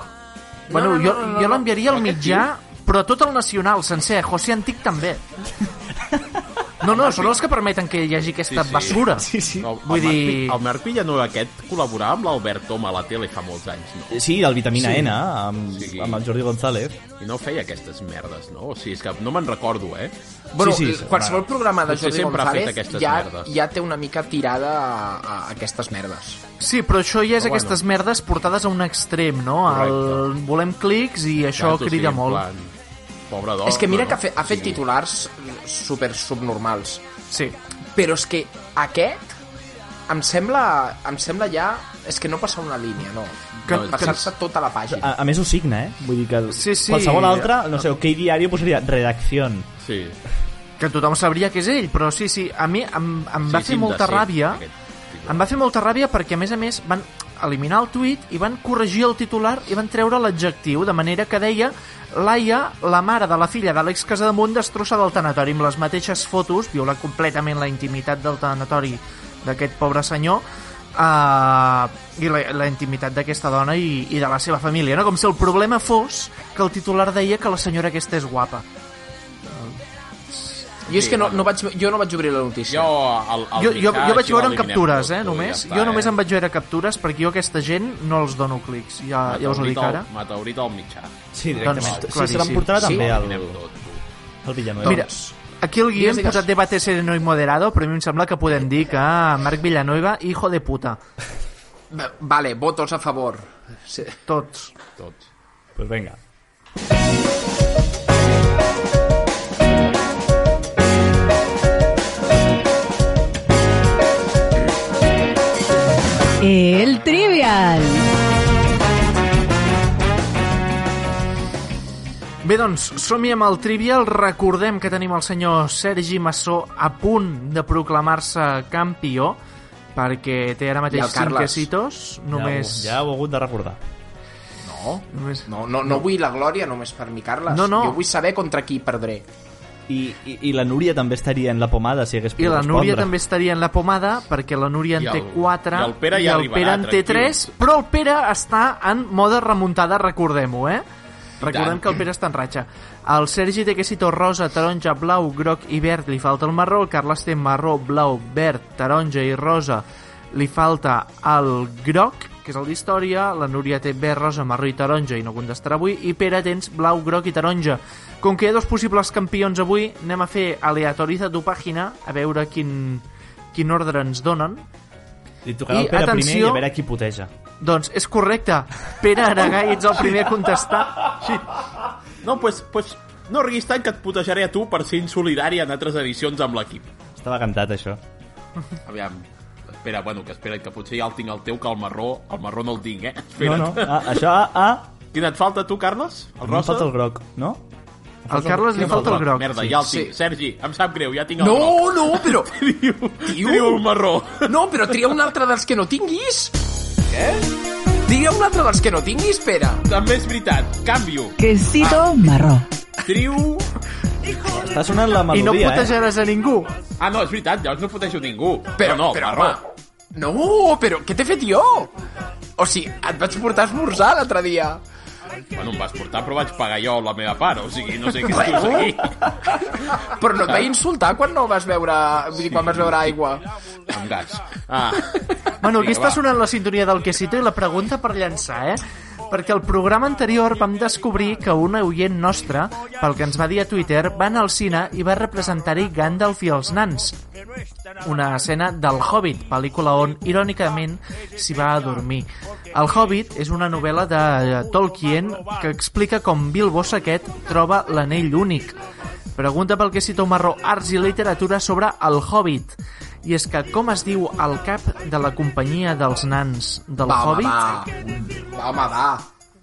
S2: Bueno,
S5: no, no,
S2: jo,
S5: no, no,
S2: jo
S5: no. Eh,
S2: l'enviaria al
S3: Aquest
S2: mitjà, però a tot el nacional sencer, José Antic també. No, no, són els que permeten que hi hagi aquesta
S3: Sí, sí.
S2: basura.
S4: Sí, sí.
S3: No, el,
S2: Vull
S3: Marc,
S2: dir-
S3: Pi- el Marc Villanueva aquest col·laborava amb l'Albert Tom a la tele fa molts anys, no?
S4: Sí, el Vitamina N, amb,
S3: Sí.
S4: amb el Jordi González.
S3: I no feia aquestes merdes, no? O sigui, és que no me'n recordo, eh?
S5: Bueno,
S4: Sí,
S5: sí,
S4: sí,
S5: sí, qualsevol
S4: va.
S5: programa de
S3: Potser
S5: Jordi
S3: sempre ha fet
S5: González
S3: aquestes
S5: ja,
S3: merdes.
S5: ja té una mica tirada a, a aquestes merdes.
S2: Sí, però això ja és
S3: Però bueno.
S2: aquestes merdes portades a un extrem, no? El,
S3: Correcte.
S2: volem clics i això
S3: Saps? O sigui,
S2: crida
S3: en
S2: molt.
S3: Plan, pobra dona.
S5: és que mira
S3: no?
S5: que ha, fe, ha fet
S3: Sí.
S5: titulars super subnormals,
S2: Sí.
S5: però és que aquest em sembla, em sembla ja... És que no passar una línia, no.
S2: Que-
S5: no Passar-se tota la pàgina.
S4: A, a més ho signa, eh? Vull dir que el-
S2: Sí, sí.
S4: qualsevol altre, no sé, OK Diario posaria redacció.
S3: Sí.
S2: Que tothom sabria que és ell, però sí, sí, a mi em, em va
S3: Sí,
S2: fer
S3: sí,
S2: molta
S3: indecent,
S2: ràbia...
S3: aquest titular.
S2: Em va fer molta ràbia perquè, a més a més, van eliminar el tuit i van corregir el titular i van treure l'adjectiu, de manera que deia Laia, la mare de la filla d'Àlex Casademunt, destrossa del tanatori amb les mateixes fotos, viola completament la intimitat del tanatori d'aquest pobre senyor, uh, i la, la intimitat d'aquesta dona i, i de la seva família, no? Com si el problema fos que el titular deia que la senyora aquesta és guapa.
S5: Jo és que no, no vaig, jo no vaig obrir la notícia.
S3: Jo, el, el
S2: Jo, jo, jo
S3: mitjà
S2: vaig
S3: així
S2: veure en
S3: l'eliminem
S2: captures,
S3: tot,
S2: eh,
S3: tot,
S2: només.
S3: ja
S2: jo només
S3: eh?
S2: em vaig veure captures perquè jo a aquesta gent no els dono clics, ja, ja us ho
S3: Meteorit
S2: dic
S3: al-
S2: ara.
S3: Meteorit al mitjà.
S4: Sí,
S2: Doncs,
S4: directament. sí, se
S2: claríssim.
S4: l'emportarà
S5: Sí.
S4: també
S3: Anem
S4: el,
S3: tot.
S4: el Villanueva.
S2: Mira, aquí el guió
S5: Digues,
S2: hem
S5: digues.
S2: posat debate sereno i moderado, però a mi em sembla que podem dir que ah, Marc Villanueva, hijo de puta.
S5: Va- Vale, votos a favor. Sí.
S2: Tots.
S3: Tots.
S4: pues venga.
S6: El Trivial.
S2: Bé, doncs, som-hi amb el Trivial. Recordem que tenim el senyor Sergi Massó a punt de proclamar-se campió, perquè té ara
S5: I
S2: mateix
S5: el
S2: 5
S5: Carles.
S2: quesitos. Només...
S4: Ja, ho- ja ho he hagut de recordar.
S5: No.
S2: només...
S5: Oh. No, no, no vull la glòria només per mi, Carles.
S2: No, no.
S5: Jo vull saber contra qui perdré.
S4: I, i, I la Núria també estaria en la pomada, si hagués
S2: I
S4: pogut
S2: la
S4: respondre.
S2: Núria també estaria en la pomada, perquè la Núria en
S3: I el-
S2: té 4
S3: i el Pere ja arribarà,
S2: Pere en té
S3: tranquils.
S2: 3, però el Pere està en moda remuntada, recordem-ho, eh? Recordem
S3: tant.
S2: que el Pere està en ratxa. El Sergi té quesito rosa, taronja, blau, groc i verd, li falta el marró. El Carles té marró, blau, verd, taronja i rosa, li falta el groc, que és el d'història, la Núria té verd, rosa, marró i taronja i no contestarà avui, i Pere tens blau, groc i taronja. Com que hi ha dos possibles campions avui, anem a fer aleatoriza tu pàgina, a veure quin, quin ordre ens donen.
S4: Li tocarà
S2: I,
S4: el Pere
S2: atenció,
S4: primer i a veure qui puteja.
S2: Doncs és correcte. Pere Aragai, ets el primer a contestar.
S3: Sí. No, pues, pues, no riguis tant que et putejaré a tu per ser insolidari en altres edicions amb l'equip.
S4: Estava cantat, això.
S3: Aviam, espera, bueno, que espera't, que potser ja el tinc el teu, que el marró, el marró no el tinc, eh?
S4: No,
S3: Espera't.
S4: no. Ah, això, ah, ah.
S3: Quin et falta, tu, Carles? El
S4: No em
S3: rosa?
S4: falta el groc, no?
S2: Al Carles li falta el groc.
S3: Merda,
S2: sí.
S3: ja el tinc.
S5: Sí.
S3: Sergi, em sap greu, ja tinc el groc.
S5: No, no, però...
S3: Tio,
S5: Tio.
S3: tio, un marró.
S5: No, però tria un altre dels que no tinguis. Què? Tria un altre dels que no tinguis, Pere.
S3: També és veritat. Canvio.
S6: Quesito marró.
S3: Trio...
S4: Està sonant la
S2: I no
S4: melodia, eh?
S2: putejaràs a ningú.
S3: Ah, no, és veritat, llavors no fotejo ningú.
S5: Però,
S3: no, no,
S5: però,
S3: marró.
S5: home, no, però què t'he fet jo? O sigui, et vaig portar a esmorzar l'altre dia.
S3: Bueno, em vas portar, però vaig pagar jo la meva part, o sigui, no sé què dius aquí.
S5: Però no et vaig insultar quan no vas veure... Vull dir, quan vas veure aigua.
S3: Amb gas. Ah.
S2: Bueno, aquí
S3: Vinga,
S2: està
S3: va.
S2: sonant la sintonia del quesito i la pregunta per llançar, eh? Perquè al programa anterior vam descobrir que un oient nostre, pel que ens va dir a Twitter, va anar al cine i va representar-hi Gandalf i els nans. Una escena del Hobbit, pel·lícula on, irònicament, s'hi va a dormir. El Hobbit és una novel·la de eh, Tolkien que explica com Bilbo Saquet troba l'anell únic. Pregunta pel que cita Marró Arts i Literatura sobre el Hobbit. I és que com es diu el cap de la companyia dels nans del
S5: Va, home,
S2: Hobbit?
S5: va. Va, home, va.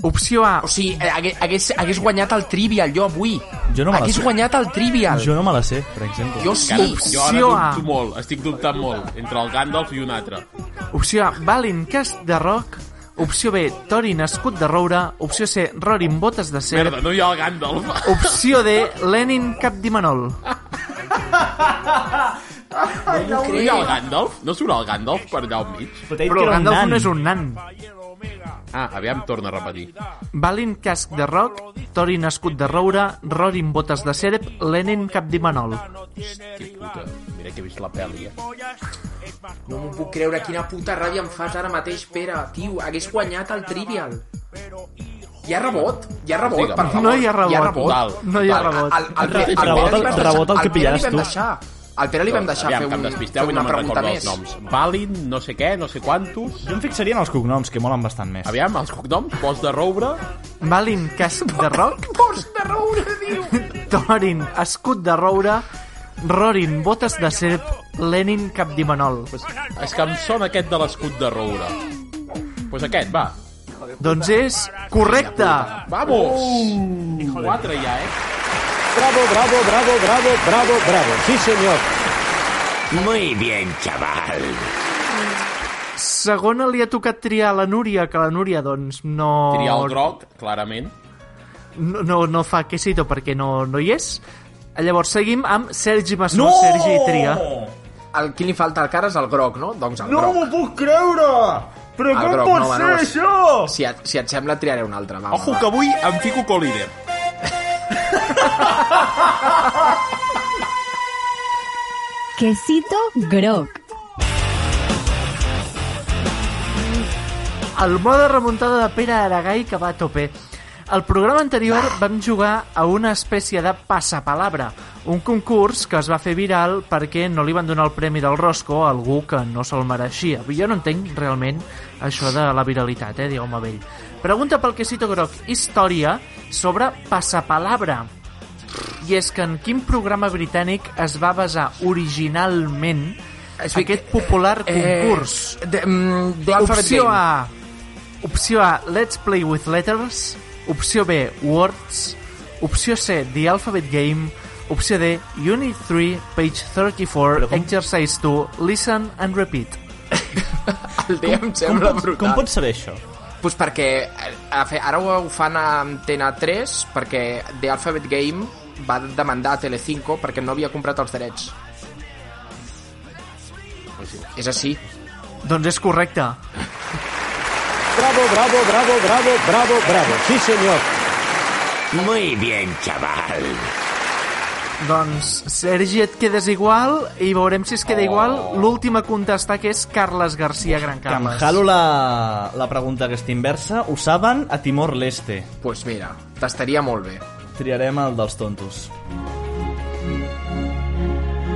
S2: Opció A,
S5: O sigui, eh, hagués, hagués, hagués guanyat el Trivial jo avui.
S4: Jo no me la
S5: hagués
S4: sé.
S5: guanyat el Trivial. Jo,
S4: Jo no me la sé, per exemple.
S5: jo sí.
S3: Carles, jo ara
S2: Opció A.
S3: dubto molt, estic dubtant molt, entre el Gandalf i un altre.
S2: Opció A, Balin Cast de Roc. Opció B, Tori Nascut de Roure. Opció C, Rorin Botes de Ser.
S3: Merda, no hi ha el Gandalf.
S2: Opció D, Lenin Capdimanol.
S3: No hi ha el Gandalf? No surt el Gandalf per allà al mig?
S4: Però, t'he dit
S2: Però
S4: que
S2: el
S4: era un
S2: Gandalf
S4: nan.
S2: no és un nan.
S3: Ah, aviam, torna a repetir.
S2: Balin Casc de Roc, Tori Nascut de Roure, Rorin Botes de Serp, Lenin Capdimanol.
S3: Que puta, mira que he vist la pel·li, eh?
S5: No m'ho puc creure, quina puta ràbia em fas ara mateix, Pere. Tio, hagués guanyat el Trivial. Hi ha rebot, hi ha rebot,
S3: Digue'm.
S5: per favor.
S2: No hi ha rebot.
S5: Hi ha rebot.
S3: Total.
S2: No hi ha rebot.
S5: El, el, el, el,
S4: Rebot el- rebot el que pillaràs tu.
S5: Al Pere li vam deixar
S3: aviam,
S5: fer,
S3: que em
S5: un, fer
S3: despisteu i
S5: una
S3: no me'n
S5: pregunta
S3: recordo
S5: més.
S3: els noms. Balin, no sé què, no sé quantos...
S4: Jo em fixaria en els cognoms, que molen bastant més.
S3: Aviam, els cognoms, Bosch de Roure...
S2: Balin Casc de Roc,
S5: Bors de roure, diu!
S2: Thorin Escut de Roure, Rorin Botes de Serp, Lenin Capdimanol.
S3: Pues, és que em sona aquest de l'escut de Roure. Doncs pues aquest, va.
S2: Doncs és correcte!
S3: Vamos!
S8: Oh!
S3: Quatre ja, eh?
S8: Bravo, bravo, bravo, bravo, bravo, bravo. Sí, señor.
S7: Muy bien, chaval.
S2: Segona li ha tocat triar a la Núria, que la Núria, doncs, no...
S3: Triar el groc, clarament.
S2: no, no, no fa quesito perquè no, no hi és. Llavors seguim amb Sergi Massó,
S4: No!
S2: Sergi Tria.
S5: El, qui li falta al cara és el groc, no? Doncs el
S4: No
S5: groc.
S4: m'ho puc creure! Però
S5: El
S4: com
S5: groc,
S4: pot
S5: no, home,
S4: ser,
S5: no ho sé.
S4: això?
S5: Si et, si et sembla, triaré un altre. Va,
S3: Ojo,
S5: va.
S3: que avui em fico co-líder.
S6: Quesito groc.
S2: El mode remuntada de Pere Aragai que va a tope. Al programa anterior vam jugar a una espècie de passapalabra, un concurs que es va fer viral perquè no li van donar el premi del Rosco a algú que no se'l mereixia. Jo no entenc realment això de la viralitat, eh, digueu-me vell. Pregunta pel quesito groc història sobre passapalabra. I és que en quin programa britànic es va basar originalment
S5: Es diu-
S2: aquest popular concurs?
S5: Eh, de, mm, de l'Alphabet
S2: Opció
S5: Game.
S2: A. Opció A, Let's Play with Letters. Opció B, Words. Opció C, The Alphabet Game. Opció D, Unit 3, page 34, exercise 2, listen and repeat.
S5: El D em
S4: Com,
S5: sembla
S4: pots,
S5: brutal.
S4: com pot saber això?
S5: Pues perquè eh, a fer, ara ho fan a Antena 3 perquè The Alphabet Game va demandar a Telecinco perquè no havia comprat els drets. És així.
S2: Doncs és correcte.
S8: Bravo, bravo, bravo, bravo, bravo, bravo. Sí, señor.
S7: Muy bien, chaval.
S2: Doncs, Sergi, et quedes igual i veurem si es queda igual l'última a contestar, que és Carles García Gran
S4: Que em
S2: Carles.
S4: jalo la, la pregunta aquesta inversa. Ho saben a Timor-Leste.
S5: Pues mira, t'estaria molt bé.
S4: Triarem el dels tontos.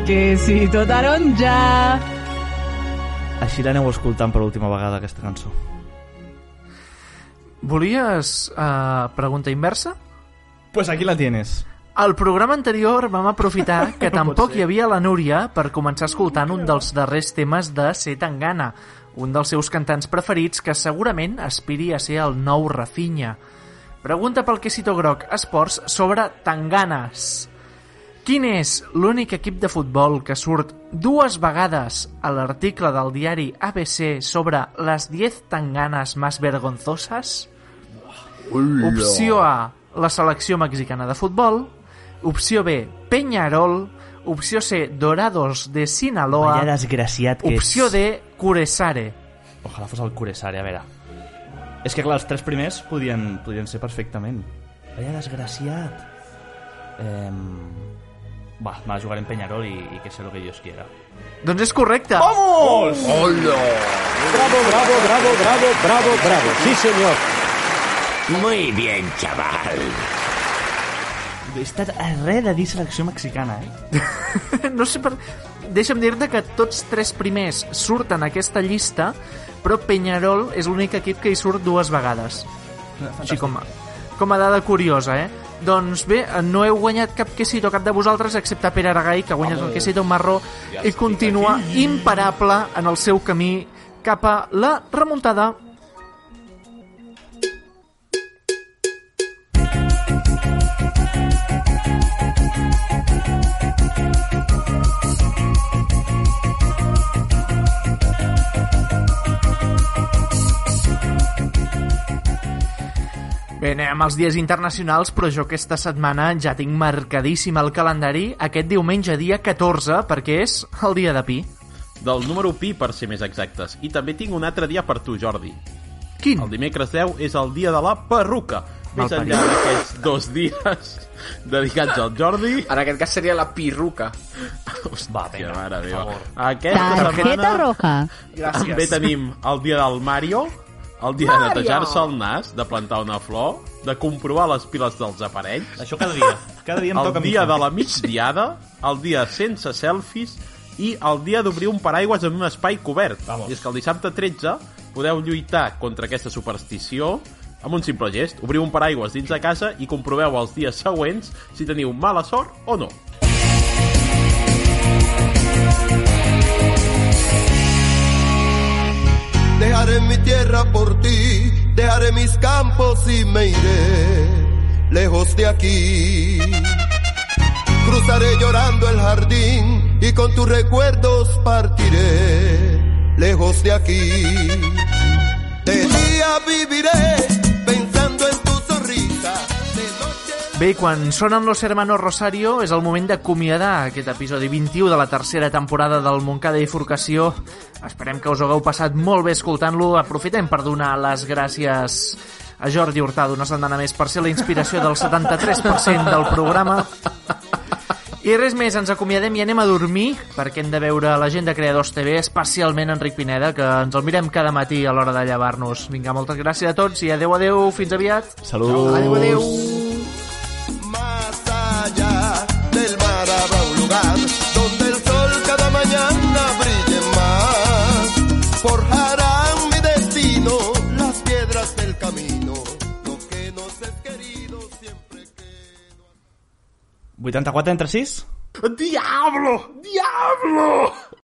S6: Quesito taronja.
S4: Així l'aneu escoltant per última vegada, aquesta cançó.
S2: Volies eh, pregunta inversa?
S4: Pues aquí la tienes.
S2: Al programa anterior vam aprofitar que tampoc hi havia la Núria per començar escoltant un dels darrers temes de Setangana, un dels seus cantants preferits que segurament aspiri a ser el nou Rafinha. Pregunta pel Quesito Groc Esports sobre Tanganes. Quin és l'únic equip de futbol que surt dues vegades a l'article del diari ABC sobre les 10 tanganes més vergonzoses? Opció A, la selecció mexicana de futbol. Opció B, Peñarol. Opció C, Dorados de
S4: Vaya
S2: Sinaloa.
S4: desgraciat que
S2: Opció
S4: ets.
S2: D, Curesare.
S4: Ojalà fos el Curesare, a veure. És que clar, els tres primers podien, podien ser perfectament. Vaya desgraciat. Eh... Va, me la jugaré en Peñarol i, i que sé lo que Dios quiera.
S2: Doncs és correcte.
S8: Bravo, bravo, bravo, bravo, bravo, bravo. Sí, señor.
S7: Muy bien, chaval.
S4: He estat a res de dir selecció mexicana, eh?
S2: no sé per... Deixa'm dir-te que tots tres primers surten a aquesta llista, però Peñarol és l'únic equip que hi surt dues vegades. Així com a, com a dada curiosa, eh? Doncs bé, no heu guanyat cap quesito, cap de vosaltres, excepte Pere Aragai, que ha guanyat el quesito marró i continua imparable en el seu camí cap a la remuntada. Bé, anem amb els dies internacionals, però jo aquesta setmana ja tinc marcadíssim el calendari aquest diumenge dia 14, perquè és el dia de Pi.
S3: Del número pi, per ser més exactes. I també tinc un altre dia per tu, Jordi.
S2: Quin?
S3: El dimecres 10 és el dia de la perruca. Més enllà d'aquests dos dies dedicats al Jordi...
S5: En aquest cas seria la pirruca.
S4: Va,
S3: Hòstia,
S4: vinga.
S3: mare meva. Aquesta
S6: Tarjeta
S3: setmana...
S6: roja.
S5: Gràcies.
S3: També tenim el dia del Mario, el dia de netejar-se el nas, de plantar una flor, de comprovar les piles dels aparells,
S4: Això cada dia. Cada dia em
S3: el
S4: toca a mi.
S3: dia de la migdiada, el dia sense selfies i el dia d'obrir un paraigües en un espai cobert.
S4: Vamos.
S3: I és que el dissabte 13 podeu lluitar contra aquesta superstició amb un simple gest. Obriu un paraigües dins de casa i comproveu els dies següents si teniu mala sort o no.
S9: Dejaré mi tierra por ti, dejaré mis campos y me iré lejos de aquí. Cruzaré llorando el jardín y con tus recuerdos partiré lejos de aquí. De día viviré pensando en tu sonrisa, de noche
S2: Bé, i quan sonen los hermanos Rosario és el moment d'acomiadar aquest episodi 21 de la tercera temporada del Montcada i Forcació. Esperem que us ho hagueu passat molt bé escoltant-lo. Aprofitem per donar les gràcies a Jordi Hurtado una setmana més per ser la inspiració del 73% del programa. I res més, ens acomiadem i anem a dormir perquè hem de veure la gent de Creadors TV, especialment Enric Pineda, que ens el mirem cada matí a l'hora de llevar-nos. Vinga, moltes gràcies a tots i adeu, adeu, fins aviat.
S4: Salut.
S2: Adeu, adeu.
S9: Más allá del mar habrá un lugar donde el sol cada mañana brille más. Forjarán mi destino las piedras del camino. Lo que nos es querido siempre que...
S4: 84 entre 6?
S3: ¡Diablo! ¡Diablo!